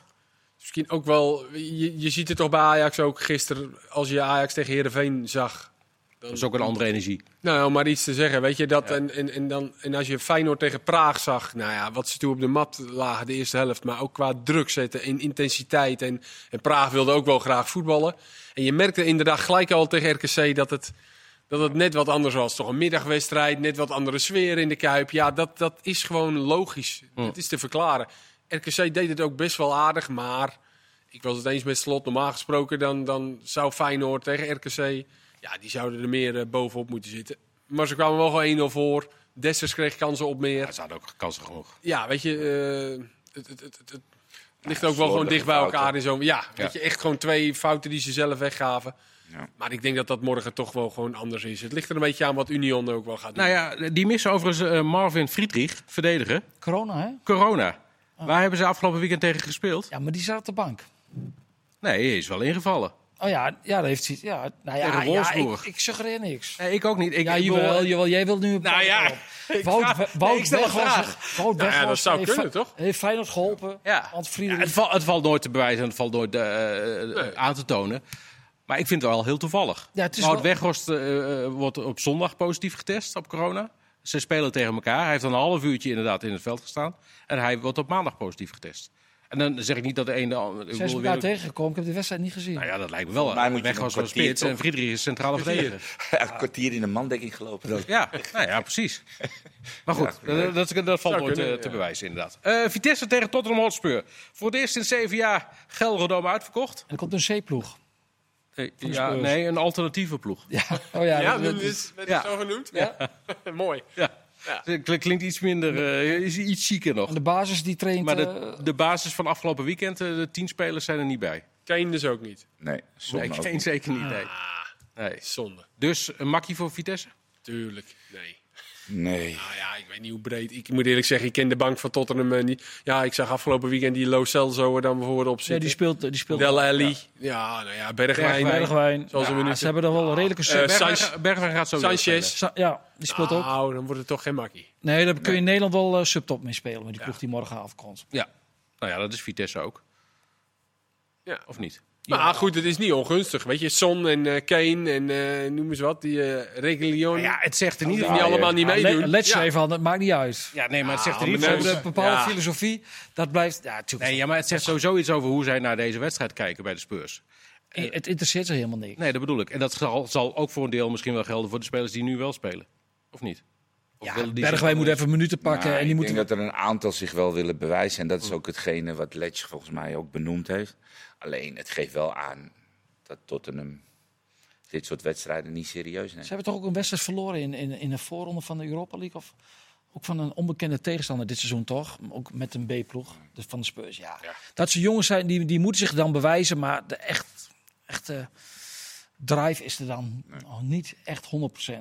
Speaker 4: Misschien ook wel, je, je ziet het toch bij Ajax ook gisteren, als je Ajax tegen Herenveen zag.
Speaker 1: Dat is ook een andere energie.
Speaker 4: Nou, om maar iets te zeggen, weet je dat. En, en, en, dan, en als je Feyenoord tegen Praag zag, nou ja, wat ze toen op de mat lagen de eerste helft. Maar ook qua druk zetten en intensiteit. En, en Praag wilde ook wel graag voetballen. En je merkte inderdaad gelijk al tegen RKC dat het, dat het net wat anders was. Toch een middagwedstrijd, net wat andere sfeer in de Kuip. Ja, dat, dat is gewoon logisch. Dat is te verklaren. RKC deed het ook best wel aardig, maar ik was het eens met Slot. Normaal gesproken dan, dan zou Feyenoord tegen RKC... Ja, die zouden er meer eh, bovenop moeten zitten. Maar ze kwamen wel gewoon 1-0 voor. Dessers kreeg kansen op meer.
Speaker 1: ze hadden ook kansen genoeg.
Speaker 4: Ja, weet je... eh, het, het, het, het, het ligt ook wel
Speaker 3: slordige
Speaker 4: gewoon dicht bij
Speaker 3: fouten.
Speaker 4: elkaar in zo'n... Ja, weet
Speaker 1: Ja.
Speaker 4: je, echt gewoon twee fouten die ze zelf weggaven.
Speaker 3: Ja.
Speaker 4: Maar ik denk dat dat morgen toch wel gewoon anders is. Het ligt er een beetje aan wat Union ook wel gaat doen.
Speaker 1: Nou ja, die missen overigens eh, Marvin Friedrich, verdediger.
Speaker 2: Corona, hè?
Speaker 1: Corona.
Speaker 2: Oh.
Speaker 1: Waar hebben ze afgelopen weekend tegen gespeeld?
Speaker 2: Ja, maar die zat op de bank.
Speaker 1: Nee, hij is wel ingevallen.
Speaker 2: Oh ja, ja dat heeft hij. Ja, nou ja,
Speaker 1: Tegen
Speaker 2: ja ik,
Speaker 1: Wolfsburg.
Speaker 2: ik suggereer niks.
Speaker 1: Nee, ik ook niet. Ik,
Speaker 2: Ja,
Speaker 1: ik
Speaker 2: jawel,
Speaker 1: bedoel- eh,
Speaker 2: jawel, jij wilt nu...
Speaker 1: Nou ja, ik
Speaker 2: Wout,
Speaker 1: vraag-
Speaker 2: Wout,
Speaker 1: nee, ik stel een
Speaker 2: Weghorst-
Speaker 1: vraag.
Speaker 2: Wout
Speaker 4: Nou ja,
Speaker 2: Weghorst
Speaker 4: dat zou
Speaker 2: heeft
Speaker 4: kunnen,
Speaker 2: Fe-
Speaker 4: toch?
Speaker 2: Heeft Feyenoord geholpen.
Speaker 1: Ja.
Speaker 2: Want
Speaker 1: Ja,
Speaker 2: Friedrich...
Speaker 1: het, val- het valt nooit te bewijzen en het valt nooit eh, eh, aan te tonen. Maar ik vind het wel heel toevallig.
Speaker 2: Ja, het is
Speaker 1: Wout
Speaker 2: wel-
Speaker 1: Weghorst eh, eh, wordt op zondag positief getest op corona. Ze spelen tegen elkaar. Hij heeft dan een half uurtje inderdaad in het veld gestaan. En hij wordt op maandag positief getest. En dan zeg ik niet dat de ene... de ander- ik
Speaker 2: Zijn ze
Speaker 1: bedoel,
Speaker 2: elkaar
Speaker 1: weer-
Speaker 2: tegengekomen? Ik heb de wedstrijd niet gezien.
Speaker 1: Nou ja, dat lijkt me wel.
Speaker 3: mij moet je
Speaker 1: Weghorst
Speaker 3: nog
Speaker 1: was spits
Speaker 3: kwartier,
Speaker 1: en Friedrich is centrale verdediger.
Speaker 3: Ja, een kwartier in de mandekking gelopen. dan.
Speaker 1: Ja, nou ja, precies. Maar goed, eh, dat, dat, dat valt
Speaker 4: Zou
Speaker 1: nooit
Speaker 4: kunnen,
Speaker 1: eh, te
Speaker 4: ja.
Speaker 1: bewijzen inderdaad. Eh, Vitesse tegen Tottenham Hotspur. Voor het eerst in zeven jaar Gelredome uitverkocht.
Speaker 2: En er komt een C-ploeg.
Speaker 1: Eh,
Speaker 2: de
Speaker 1: ja,
Speaker 2: Spurs.
Speaker 1: nee, een alternatieve ploeg.
Speaker 2: Ja. Oh ja,
Speaker 4: Ja,
Speaker 2: dat-
Speaker 4: dat is, werd
Speaker 1: ja.
Speaker 4: het zo genoemd.
Speaker 2: Ja.
Speaker 4: Mooi.
Speaker 1: Ja. Kl- Klinkt iets minder, eh, is iets zieker nog.
Speaker 2: En de basis die traint...
Speaker 1: Maar
Speaker 2: eh,
Speaker 1: de, de basis van afgelopen weekend, eh, de tien spelers zijn er niet bij.
Speaker 4: Kane dus ook niet. Ah,
Speaker 3: Nee, zonde
Speaker 1: nee,
Speaker 3: ook
Speaker 1: geen
Speaker 3: niet.
Speaker 1: zeker niet. Ah. Nee. Nee.
Speaker 4: Zonde.
Speaker 1: Dus een makkie voor Vitesse?
Speaker 4: Tuurlijk. Nee.
Speaker 3: Nee.
Speaker 4: Nou ja, ik weet niet hoe breed. Ik moet eerlijk zeggen, ik ken de bank van Tottenham eh, niet. Ja, ik zag afgelopen weekend die Lo Celso er dan bijvoorbeeld op
Speaker 2: ja,
Speaker 4: zitten.
Speaker 2: die speelt... Die speelt
Speaker 4: Del Alli. Ja. nou ja, Bergwijn.
Speaker 1: Bergwijn.
Speaker 2: Bergwijn.
Speaker 4: Zoals een
Speaker 2: Ja,
Speaker 4: minuut.
Speaker 2: ze hebben er wel een redelijke...
Speaker 4: Eh,
Speaker 2: sub.
Speaker 1: Bergwijn,
Speaker 4: Sanchez-
Speaker 1: Bergwijn gaat zo weer spelen.
Speaker 4: Sanchez.
Speaker 2: Sa- ja, die speelt ook.
Speaker 4: Nou, dan wordt het toch geen makkie.
Speaker 2: Nee, daar kun je in Nederland wel eh, subtop mee spelen. Maar die ploeg die morgenavond komt.
Speaker 1: Ja. Nou ja, dat is Vitesse ook.
Speaker 4: Ja. Nou,
Speaker 1: Of niet?
Speaker 4: Maar goed, het is niet ongunstig. Weet je, Son en eh, Kane en eh, noem eens wat. Die eh Reguilon.
Speaker 1: Ja, het zegt er niet.
Speaker 4: die
Speaker 1: Ja,
Speaker 4: allemaal niet meedoen.
Speaker 2: Le- Let's
Speaker 4: Ja.
Speaker 2: even aan, dat maakt niet uit.
Speaker 1: ja, nee, maar het zegt er
Speaker 4: Ja,
Speaker 1: niet.
Speaker 4: maar
Speaker 2: Ze
Speaker 4: nee,
Speaker 1: over-
Speaker 2: hebben een bepaalde
Speaker 4: ja.
Speaker 2: filosofie. Dat blijft... Ja, natuurlijk.
Speaker 1: Nee, ja, maar het zegt sowieso iets over hoe zij naar deze wedstrijd kijken bij de Spurs.
Speaker 2: I- Het interesseert ze helemaal niks.
Speaker 1: Nee, dat bedoel ik. En dat zal, zal ook voor een deel misschien wel gelden voor de spelers die nu wel spelen. Of niet? Of
Speaker 2: Ja,
Speaker 1: willen die
Speaker 2: Bergwijn moet even minuten pakken.
Speaker 3: Nou,
Speaker 2: eh, en die
Speaker 3: ik
Speaker 2: moeten...
Speaker 3: denk dat er een aantal zich wel willen bewijzen. En dat is ook hetgene wat Letch volgens mij ook benoemd heeft. Alleen, het geeft wel aan dat Tottenham dit soort wedstrijden niet serieus
Speaker 2: Ze
Speaker 3: neemt.
Speaker 2: hebben toch ook een wedstrijd verloren in, in, in de voorronde van de Europa League? Of ook van een onbekende tegenstander dit seizoen, toch? Ook met een B-ploeg dus van de Spurs, ja. Dat ze jongens zijn, die, die moeten zich dan bewijzen. Maar de echt, echte drive is er dan nog niet echt 100%.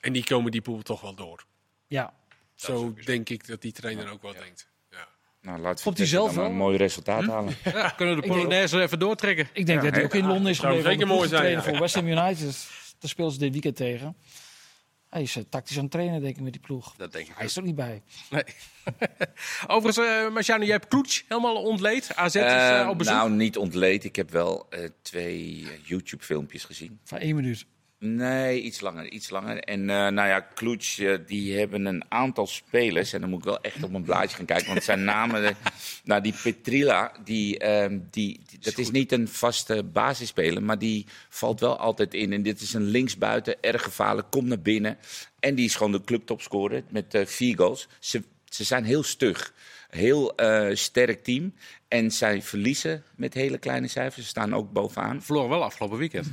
Speaker 4: En die komen die pool toch wel door.
Speaker 2: Ja,
Speaker 4: Zo denk ik dat die trainer ook wel denkt. Ja.
Speaker 3: Nou, laat
Speaker 2: Komt hij
Speaker 3: Vitesse
Speaker 2: zelf
Speaker 3: dan maar een
Speaker 2: wel?
Speaker 3: mooi resultaat halen.
Speaker 1: Ja, kunnen de Polonaise even doortrekken?
Speaker 2: ik denk dat hij
Speaker 3: nee,
Speaker 2: ook in Londen is
Speaker 4: zou
Speaker 2: gebleven.
Speaker 4: zeker
Speaker 2: om de
Speaker 4: mooi
Speaker 2: ploeg te
Speaker 4: zijn,
Speaker 2: trainen voor West Ham United. Daar speelden ze dit weekend tegen. Hij is eh, tactisch aan het trainen, denk ik, met die ploeg.
Speaker 1: Dat denk ik
Speaker 2: Hij is er ook niet bij.
Speaker 1: Nee. Overigens, eh Marciano, jij hebt Kloets helemaal ontleed. AZ is eh,
Speaker 3: Eh,
Speaker 1: op bezoek.
Speaker 3: nou, niet ontleed. Ik heb wel eh, twee eh, YouTube-filmpjes gezien.
Speaker 2: Van één minuut.
Speaker 3: Nee, iets langer, iets langer. En eh, nou ja, Kloets, eh, die hebben een aantal spelers. En dan moet ik wel echt op mijn blaadje gaan kijken, want het zijn namen... eh, nou, die Petrilla, die, ehm, die, die- dat is niet een vaste basisspeler, maar die valt wel altijd in. En dit is een linksbuiten, erg gevaarlijk, komt naar binnen. En die is gewoon de clubtopscorer met eh, vier goals. Ze, ze zijn heel stug. Heel eh, sterk team. En zij verliezen met hele kleine cijfers. Ze staan ook bovenaan.
Speaker 1: Verloor wel afgelopen weekend.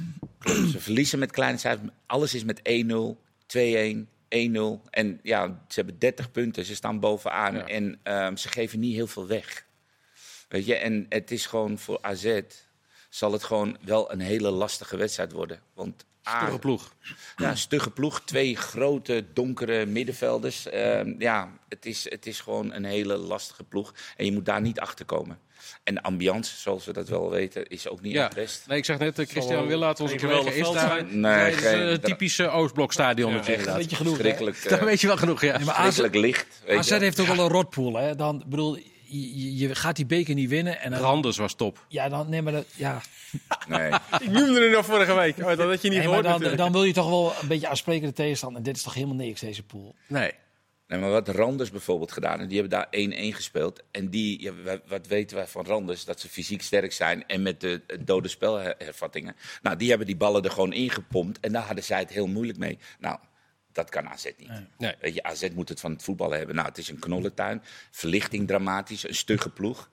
Speaker 3: Ze verliezen met kleine cijfers. Alles is met 1-0, 2-1, 1-0. En ja, ze hebben 30 punten. Ze staan bovenaan.
Speaker 1: Ja.
Speaker 3: En ehm, ze geven niet heel veel weg. Weet je, en het is gewoon voor AZ... zal het gewoon wel een hele lastige wedstrijd worden. Want A,
Speaker 1: Stugge ploeg.
Speaker 3: ja, stugge ploeg. Twee grote, donkere middenvelders. Ehm, ja, het is, het is gewoon een hele lastige ploeg. En je moet daar niet achter komen. En de ambiance, zoals we dat wel weten, is ook niet
Speaker 1: Ja.
Speaker 3: het best.
Speaker 1: Nee, ik zeg net, eh, Christian Willaert, onze
Speaker 4: een
Speaker 1: collega,
Speaker 4: geweldig
Speaker 1: is
Speaker 4: veld
Speaker 1: daar.
Speaker 4: zijn.
Speaker 3: Nee,
Speaker 1: Nee, het is eh,
Speaker 3: geen-
Speaker 1: een typische Oostblokstadion natuurlijk.
Speaker 3: Echt,
Speaker 2: beetje genoeg, hè?
Speaker 3: verschrikkelijk, eh,
Speaker 1: Dat weet je wel genoeg, ja.
Speaker 2: maar AZ,
Speaker 3: Verschrikkelijk licht. Weet
Speaker 2: AZ
Speaker 3: je.
Speaker 2: heeft ook wel een rotpool. Hè? Dan, ik bedoel, je, je- je gaat die beker niet winnen. En dan,
Speaker 1: Randers was top.
Speaker 2: ja, dan, nee, maar, dat, ja.
Speaker 3: Nee.
Speaker 4: Ik noemde het nog vorige week. Oh, dat had je niet
Speaker 2: Nee, maar
Speaker 4: gehoord
Speaker 2: dan,
Speaker 4: natuurlijk.
Speaker 2: dan wil je toch wel een beetje aansprekende tegenstand. En dit is toch helemaal niks, deze pool.
Speaker 1: Nee.
Speaker 3: nee, maar wat Randers bijvoorbeeld gedaan, en die hebben daar 1-1 gespeeld. En die, ja, wa- wat weten wij van Randers? Dat ze fysiek sterk zijn en met de eh, dode spelhervattingen. Nou, die hebben die ballen er gewoon ingepompt en daar hadden zij het heel moeilijk mee. Nou, dat kan AZ niet.
Speaker 1: Nee.
Speaker 3: Weet je, AZ moet het van het voetballen hebben. Nou, het is een knollentuin, verlichting dramatisch, een stugge ploeg.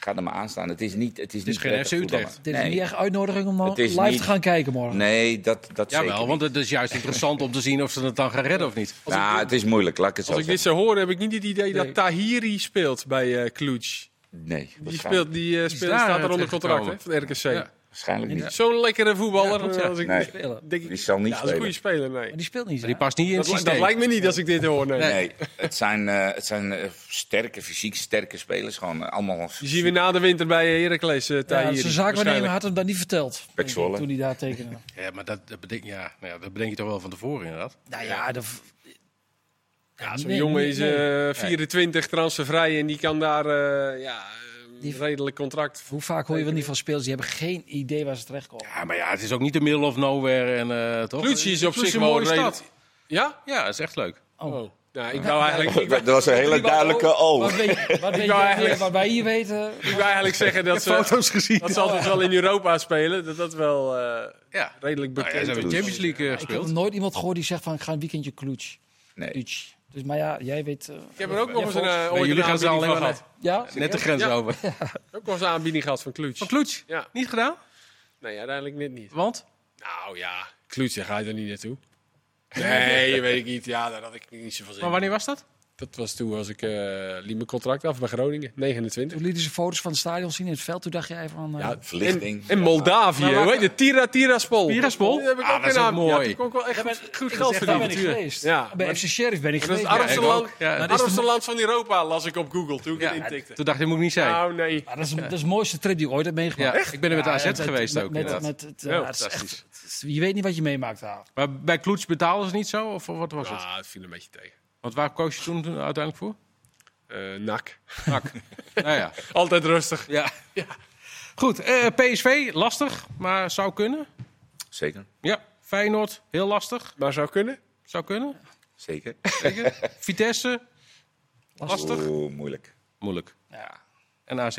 Speaker 3: Ga er maar aan staan. Het is niet Het is, niet
Speaker 1: geen
Speaker 3: prettig
Speaker 1: FC Utrecht.
Speaker 3: voetballen.
Speaker 2: Dit is
Speaker 3: Nee.
Speaker 2: niet echt uitnodiging om
Speaker 3: Het
Speaker 2: nou
Speaker 3: is
Speaker 2: live
Speaker 3: niet-
Speaker 2: te gaan kijken morgen.
Speaker 3: Nee, dat, dat zeker
Speaker 1: Jawel,
Speaker 3: niet.
Speaker 1: want het is juist interessant om te zien of ze het dan gaan redden of niet.
Speaker 3: Nou, het is moeilijk, laat ik het zo
Speaker 4: Als ik dit
Speaker 3: zeggen.
Speaker 4: zo hoor, heb ik niet het idee
Speaker 2: Nee.
Speaker 4: dat Tahiri speelt bij eh Kloets.
Speaker 3: Nee,
Speaker 4: Die,
Speaker 3: waarschijnlijk-
Speaker 4: speelt, die, eh, speelt,
Speaker 1: daar
Speaker 4: staat er onder
Speaker 1: terechtgekomen.
Speaker 4: contract hè, van de RKC.
Speaker 1: Ja.
Speaker 3: Waarschijnlijk niet.
Speaker 4: Zo'n lekkere voetballer.
Speaker 1: Ja,
Speaker 4: eh,
Speaker 1: klopt, ja.
Speaker 4: Als ik,
Speaker 3: Nee.
Speaker 4: denk ik,
Speaker 3: Die zal niet
Speaker 4: ja, dat is een goede
Speaker 3: spelen.
Speaker 4: speler, nee.
Speaker 2: Maar die speelt niet.
Speaker 1: Die
Speaker 2: hè?
Speaker 1: past niet in het
Speaker 4: Dat, li-
Speaker 1: systeem.
Speaker 4: dat lijkt me niet als ik dit hoor. Nee.
Speaker 3: Nee, het zijn, eh, het zijn eh, sterke, fysiek sterke spelers. Gewoon eh, allemaal
Speaker 4: Die zien we na de winter bij Heracles, eh
Speaker 2: ja,
Speaker 4: Tahiri.
Speaker 2: zijn zaakwaarnemer
Speaker 4: waarschijnlijk.
Speaker 2: had hem dat niet verteld.
Speaker 3: Pek Zwolle.
Speaker 2: Toen hij daar tekende.
Speaker 1: Ja, maar dat, dat, bedenk, ja, nou ja, dat bedenk je toch wel van tevoren inderdaad.
Speaker 2: nou ja, dat...
Speaker 4: Ja, Zo'n
Speaker 2: Nee,
Speaker 4: jongen
Speaker 2: nee,
Speaker 4: is
Speaker 2: nee.
Speaker 4: eh 24, transfervrij en die kan daar eh, ja, een
Speaker 2: Die-
Speaker 4: redelijk contract.
Speaker 2: Hoe vaak hoor je wel niet van spelers die hebben geen idee waar ze terechtkomen.
Speaker 1: Ja, maar ja, het is ook niet de middle of nowhere. En, eh, toch?
Speaker 4: Kloetje is op
Speaker 1: Kloetje
Speaker 4: zich
Speaker 1: een
Speaker 4: wel
Speaker 1: mooie
Speaker 4: redelijk-
Speaker 1: stad.
Speaker 4: Ja?
Speaker 1: Ja, dat is echt leuk.
Speaker 4: Oh. Nou, ik wou eigenlijk, ik
Speaker 3: Dat was een hele duidelijke O.
Speaker 2: Wat weet, wat weet
Speaker 4: wou
Speaker 2: jij
Speaker 4: eigenlijk-
Speaker 2: meer wat wij hier weten?
Speaker 4: wou eigenlijk zeggen dat ze,
Speaker 1: Foto's gezien.
Speaker 4: dat ze altijd wel in Europa spelen. Dat dat wel eh,
Speaker 1: Ja.
Speaker 4: redelijk
Speaker 1: Nou, ja, ze
Speaker 4: bekend
Speaker 1: hebben de
Speaker 4: is.
Speaker 1: Champions League eh,
Speaker 2: Ik heb nog
Speaker 1: gespeeld.
Speaker 2: nooit iemand gehoord die zegt van ik ga een weekendje kloets.
Speaker 3: Nee.
Speaker 2: Kloets. Dus maar ja, jij weet... eh,
Speaker 4: Ik heb er ook nog eens een,
Speaker 2: volgens-
Speaker 4: eh,
Speaker 1: Nee,
Speaker 4: ooit
Speaker 1: jullie
Speaker 4: een
Speaker 1: gaan ze
Speaker 4: aanbieding
Speaker 1: alleen
Speaker 4: van
Speaker 1: maar
Speaker 4: gehad.
Speaker 2: ja?
Speaker 1: Net de grens
Speaker 4: Ja.
Speaker 1: over.
Speaker 4: Ook wel eens een aanbieding gehad van Kloets.
Speaker 1: Van Kloets?
Speaker 4: Ja.
Speaker 1: Niet gedaan?
Speaker 4: Nee, uiteindelijk net niet.
Speaker 1: Want?
Speaker 4: Nou ja, Kloets, daar ga je er niet naartoe. Nee, weet ik niet. Ja, daar had ik niet zoveel zin
Speaker 1: Maar
Speaker 4: in.
Speaker 1: wanneer was dat?
Speaker 4: Dat was toen als ik eh liep mijn contract af bij Groningen, 29.
Speaker 2: Toen lieten ze foto's van het stadion zien in het veld. Toen dacht jij van... eh,
Speaker 4: Ja,
Speaker 3: Verlichting.
Speaker 4: En Moldavië,
Speaker 1: Maar waar-
Speaker 4: hoe heet het? Tira Tiraspol.
Speaker 1: Tiraspol?
Speaker 4: Dat heb ik
Speaker 1: Ah,
Speaker 4: ook
Speaker 1: dat is
Speaker 4: in
Speaker 1: ook
Speaker 4: aan-
Speaker 1: mooi.
Speaker 4: Ja, toen kon ik wel echt goed, goed
Speaker 2: daar ben
Speaker 4: geld verdienen.
Speaker 2: ik
Speaker 1: avontuur.
Speaker 2: geweest.
Speaker 4: Ja,
Speaker 2: bij
Speaker 4: maar-
Speaker 2: FC Sheriff ben ik
Speaker 4: Dat is
Speaker 2: geweest.
Speaker 4: het
Speaker 2: Ja,
Speaker 4: armste,
Speaker 1: ik ook.
Speaker 4: land,
Speaker 1: Ja,
Speaker 4: het
Speaker 1: dat is
Speaker 4: armste land van Europa, las ik op Google toen ik
Speaker 1: Ja,
Speaker 4: het intikte.
Speaker 1: Toen dacht ik, moet ik niet zijn.
Speaker 4: Nou, nee.
Speaker 2: maar dat, is, dat is de mooiste trip die ik ooit heb
Speaker 1: ja,
Speaker 2: meegemaakt.
Speaker 1: ik ben er met
Speaker 2: Ja,
Speaker 1: AZ
Speaker 2: met-
Speaker 1: geweest
Speaker 2: met-
Speaker 1: ook
Speaker 2: Met,
Speaker 1: inderdaad.
Speaker 2: met het, eh,
Speaker 4: Heel
Speaker 2: het is echt-
Speaker 4: fantastisch.
Speaker 2: het is- je weet niet wat je meemaakt nou. daar.
Speaker 1: Maar bij Kloets betaalden ze niet zo? Of wat was het?
Speaker 4: Ah, het viel een beetje tegen.
Speaker 1: Want waar koos je toen uiteindelijk voor?
Speaker 4: Eh nak.
Speaker 1: nou ja.
Speaker 4: Altijd rustig.
Speaker 1: ja. Goed, eh, PSV, lastig, maar zou kunnen.
Speaker 3: Zeker.
Speaker 1: Ja, Feyenoord, heel lastig,
Speaker 4: Maar zou kunnen.
Speaker 1: zou kunnen.
Speaker 3: Zeker.
Speaker 1: Zeker. Vitesse, lastig.
Speaker 3: Oeh, moeilijk.
Speaker 1: Moeilijk.
Speaker 2: Ja,
Speaker 1: En AZ.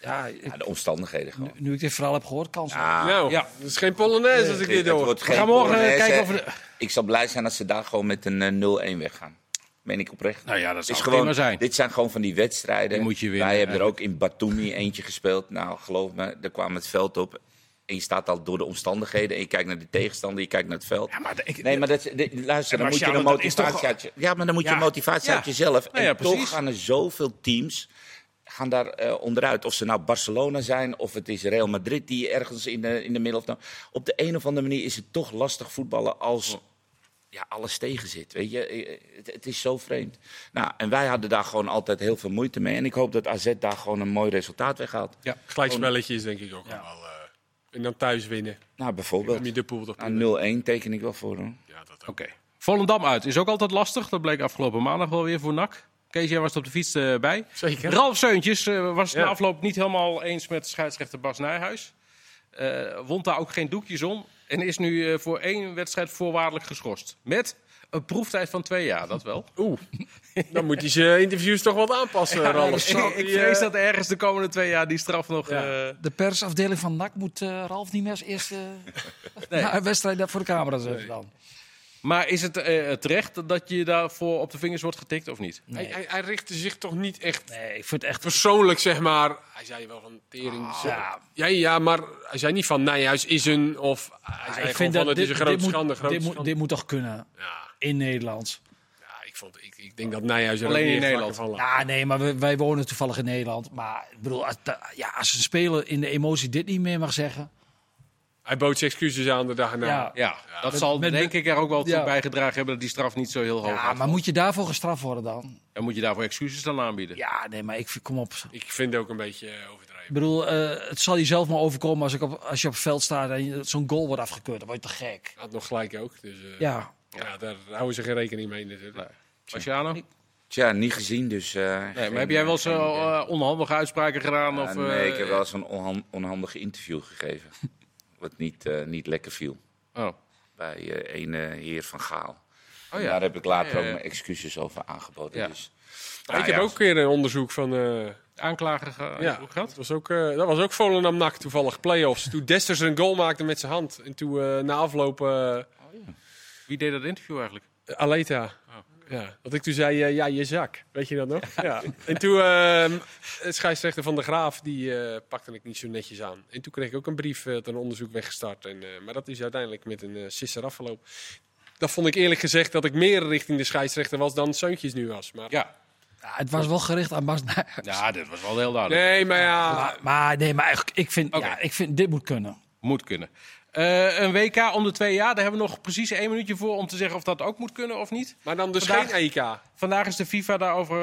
Speaker 2: ja ik-
Speaker 3: Ja, de omstandigheden gewoon.
Speaker 2: nu ik dit verhaal heb gehoord, kans.
Speaker 3: Ah,
Speaker 4: nou,
Speaker 1: ja.
Speaker 4: het is geen Polonaise als ik dit
Speaker 3: dat
Speaker 4: hoor.
Speaker 3: wordt
Speaker 1: We
Speaker 3: geen
Speaker 1: gaan morgen
Speaker 3: Polonaise.
Speaker 1: kijken of we de-
Speaker 3: Ik zal blij zijn als ze daar gewoon met een eh, 0-1 weggaan. Meen ik oprecht.
Speaker 1: Nou ja, dat
Speaker 3: Het
Speaker 1: zou
Speaker 3: is
Speaker 1: prima
Speaker 3: gewoon,
Speaker 1: zijn.
Speaker 3: Dit zijn gewoon van die wedstrijden.
Speaker 1: Die moet je winnen,
Speaker 3: Wij hebben er ook in Batumi eentje gespeeld. Nou, geloof me, daar kwam het veld op. En je staat al door de omstandigheden. En je kijkt naar de tegenstander, je kijkt naar het veld.
Speaker 1: Ja, maar de- ik-
Speaker 3: nee, maar dat, de- luister,
Speaker 1: Ja,
Speaker 3: dan
Speaker 1: maar
Speaker 3: moet je
Speaker 1: Sjaal,
Speaker 3: een
Speaker 1: dat is toch-
Speaker 3: motivatie uit je- Ja, maar dan moet je
Speaker 1: Ja.
Speaker 3: een motivatie
Speaker 1: Ja.
Speaker 3: uit jezelf.
Speaker 1: Nou ja,
Speaker 3: en
Speaker 1: precies.
Speaker 3: toch gaan er zoveel teams gaan daar eh, onderuit. Of ze nou Barcelona zijn, of het is Real Madrid die ergens in de, in de middel... Of nou, op de een of andere manier is het toch lastig voetballen als ja, alles tegen zit. Weet je, Eh, het, het is zo vreemd. Nou, en wij hadden daar gewoon altijd heel veel moeite mee. En ik hoop dat AZ daar gewoon een mooi resultaat weghaalt.
Speaker 1: Ja.
Speaker 4: Gelijkspelletjes denk ik ook wel. eh, en dan thuis winnen.
Speaker 3: Nou,
Speaker 4: Om je
Speaker 3: bijvoorbeeld.
Speaker 4: de pool toch
Speaker 3: Aan 0-1 teken ik wel voor, hoor.
Speaker 4: Ja, dat ook.
Speaker 1: Oké. Volendam uit is ook altijd lastig. Dat bleek afgelopen maandag wel weer voor NAC. Kees, jij was er op de fiets eh, bij.
Speaker 4: Zeker.
Speaker 1: Ralf Seuntjes eh, was het
Speaker 4: Ja.
Speaker 1: na afloop niet helemaal eens met scheidsrechter Bas Nijhuis. Eh wond daar ook geen doekjes om. En is nu eh, voor één wedstrijd voorwaardelijk geschorst. Met een proeftijd van twee jaar, dat wel.
Speaker 4: Oeh, dan moet hij zijn interviews toch wat aanpassen, Ralf.
Speaker 1: ik, ik vrees dat ergens de komende twee jaar die straf nog...
Speaker 4: Ja.
Speaker 1: eh,
Speaker 2: De persafdeling van NAC moet eh, Ralf niet meer als eerste na een wedstrijd daar voor de camera zetten dan.
Speaker 1: maar is het eh, terecht dat je daarvoor op de vingers wordt getikt of niet?
Speaker 4: Hij, hij, hij richtte zich toch niet echt
Speaker 2: Nee, ik vind het echt...
Speaker 4: persoonlijk, zeg maar. Hij zei wel van tering. zo.
Speaker 2: ja.
Speaker 4: Ja, ja, maar hij zei niet van Nijhuis is een... Of hij zei
Speaker 2: Ah, ik
Speaker 4: gewoon
Speaker 2: vind
Speaker 4: van
Speaker 2: dat
Speaker 4: het is een grote
Speaker 2: moet-
Speaker 4: schande, grote
Speaker 2: dit, moet,
Speaker 4: schande.
Speaker 2: dit moet toch kunnen
Speaker 4: Ja,
Speaker 2: in Nederland.
Speaker 4: ja, ik, vond, ik, ik denk dat Nijhuis er
Speaker 1: Alleen
Speaker 4: ook
Speaker 1: in
Speaker 4: niet echt
Speaker 1: Nederland.
Speaker 4: wakker van lag.
Speaker 2: Ja, nee, maar we- wij wonen toevallig in Nederland. Maar ik bedoel, als, da- ja, als een speler in de emotie dit niet meer mag zeggen.
Speaker 1: Oh,
Speaker 4: Hij bood zijn excuses aan de dag erna.
Speaker 2: Ja.
Speaker 1: Ja, dat zal
Speaker 2: met-
Speaker 1: denk ik er ook wel toe
Speaker 2: Ja.
Speaker 1: bijgedragen hebben... dat die straf niet zo heel hoog
Speaker 2: Ja,
Speaker 1: gaat.
Speaker 2: maar moet je daarvoor gestraft worden dan?
Speaker 1: En moet je daarvoor excuses dan aanbieden?
Speaker 2: Ja, nee, maar ik vind- kom op.
Speaker 4: Ik vind het ook een beetje eh,
Speaker 2: Ik
Speaker 4: overdreven.
Speaker 2: bedoel, eh, het zal jezelf maar overkomen als, ik op, als je op het veld staat en je- zo'n goal wordt afgekeurd. Dan word je te gek.
Speaker 4: Hij Had nog gelijk ook. Dus eh, ja.
Speaker 2: Ja,
Speaker 4: daar houden ze geen rekening mee natuurlijk.
Speaker 1: Nee. Marciano? Nee,
Speaker 3: Tja, niet gezien, dus... eh, geen-
Speaker 1: maar heb jij wel eens
Speaker 3: geen idee.
Speaker 1: eh, eh, onhandige uitspraken gedaan?
Speaker 3: Ja,
Speaker 1: of,
Speaker 3: nee,
Speaker 1: eh,
Speaker 3: ik heb wel eens een onhan- onhandig interview gegeven. wat niet, eh, niet lekker viel.
Speaker 1: Oh.
Speaker 3: Bij eh, een eh, heer van Gaal.
Speaker 1: Oh
Speaker 3: En
Speaker 1: ja.
Speaker 3: Daar heb ik later
Speaker 1: Ja, ja, ja.
Speaker 3: ook mijn excuses over aangeboden.
Speaker 1: Ja.
Speaker 3: Dus,
Speaker 4: Maar ik
Speaker 3: Nou
Speaker 4: heb
Speaker 3: ja.
Speaker 4: ook een keer een onderzoek van... eh,
Speaker 1: Aanklager ge-
Speaker 4: Ja,
Speaker 1: hoe
Speaker 4: dat
Speaker 1: gehad?
Speaker 4: was ook, eh, dat was ook Volendam NAC toevallig, play-offs. Toen Desters een goal maakte met zijn hand. En toen eh, na afloop eh,
Speaker 1: Wie deed dat interview eigenlijk?
Speaker 4: Aleta. Ja, dat ik toen zei, eh, ja, je zak. Weet je dat nog? Ja. En toen, ehm het scheidsrechter Van der Graaf, die eh, pakte ik niet zo netjes aan. En toen kreeg ik ook een brief, eh, dat een onderzoek weggestart. En, eh, maar dat is uiteindelijk met een eh sisser afgelopen. Dat vond ik eerlijk gezegd dat ik meer richting de scheidsrechter was dan Seuntjes nu was. Maar,
Speaker 1: Ja.
Speaker 2: Ja, het was wel gericht aan Bas Nijhuis.
Speaker 1: ja, dit was wel heel duidelijk.
Speaker 4: Nee, maar ja,
Speaker 2: Maar, maar nee, maar eigenlijk, ik vind,
Speaker 1: Oké.
Speaker 2: ja, ik vind dit moet kunnen.
Speaker 1: Moet kunnen. Eh, een WK om de twee jaar, daar hebben we nog precies één minuutje voor om te zeggen of dat ook moet kunnen of niet.
Speaker 4: maar dan dus
Speaker 1: Vandaag-
Speaker 4: geen EK.
Speaker 1: Vandaag is de FIFA daarover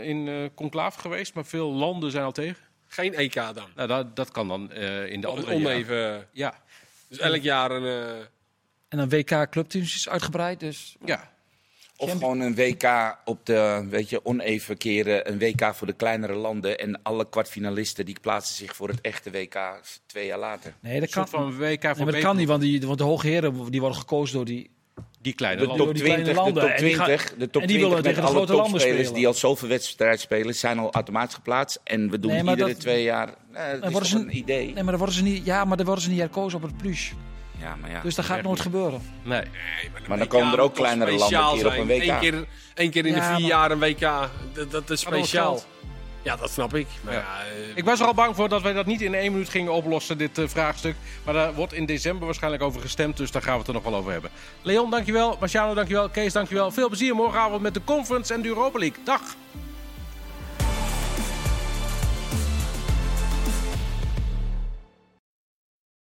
Speaker 1: eh, in eh conclaaf geweest, maar veel landen zijn al tegen.
Speaker 4: Geen EK dan.
Speaker 1: Nou, dat, dat kan dan eh, in de andere jaren.
Speaker 4: Oneven.
Speaker 1: Ja,
Speaker 4: Dus elk jaar een. eh,
Speaker 2: En een WK clubteams is uitgebreid, dus
Speaker 1: ja.
Speaker 3: of gewoon een WK op de weet je, oneven keren. Een WK voor de kleinere landen. En alle kwartfinalisten die plaatsen zich voor het echte WK twee jaar later.
Speaker 2: nee, dat
Speaker 1: Een soort
Speaker 2: kan.
Speaker 1: van WK voor
Speaker 2: Nee, maar dat kan niet, want, die, want de hoge heren die worden gekozen door die.
Speaker 1: die kleine
Speaker 3: De
Speaker 1: landen.
Speaker 3: top
Speaker 2: die kleine
Speaker 3: 20, de
Speaker 2: landen.
Speaker 3: top
Speaker 2: En die gaan-
Speaker 3: 20, de top
Speaker 2: en die willen
Speaker 3: 20 met
Speaker 2: tegen de
Speaker 3: alle
Speaker 2: grote landen
Speaker 3: topspelers
Speaker 2: spelen.
Speaker 3: die al zoveel wedstrijden spelen, zijn al automatisch geplaatst. En we doen
Speaker 2: Nee, maar
Speaker 3: iedere
Speaker 2: dat-
Speaker 3: twee jaar. Eh, dat is
Speaker 2: worden
Speaker 3: toch
Speaker 2: ze-
Speaker 3: een idee.
Speaker 2: Nee, maar dan worden ze niet. Ja, maar dan worden ze niet herkozen op het plus.
Speaker 3: Ja, maar ja.
Speaker 2: Dus dat gaat
Speaker 1: echt
Speaker 2: nooit
Speaker 1: niet.
Speaker 2: gebeuren.
Speaker 1: Nee.
Speaker 3: Maar dan
Speaker 4: WK
Speaker 3: komen er ook
Speaker 4: E moet toch
Speaker 3: kleinere landen
Speaker 4: speciaal
Speaker 3: een keer op
Speaker 4: zijn.
Speaker 3: een WK.
Speaker 4: Eén keer, één keer in
Speaker 2: Ja,
Speaker 4: de vier
Speaker 2: maar-
Speaker 4: jaar een WK. Dat, dat is
Speaker 2: Maar dat
Speaker 4: speciaal.
Speaker 2: wordt
Speaker 4: Ja, dat snap ik. Maar
Speaker 1: Ja.
Speaker 4: ja, eh,
Speaker 1: Ik was er al bang voor dat wij dat niet in één minuut gingen oplossen, dit eh, vraagstuk. Maar daar wordt in december waarschijnlijk over gestemd, dus daar gaan we het er nog wel over hebben. Leon, dankjewel. Marciano, dankjewel. Kees, dankjewel. Veel plezier morgenavond met de Conference en de Europa League. Dag!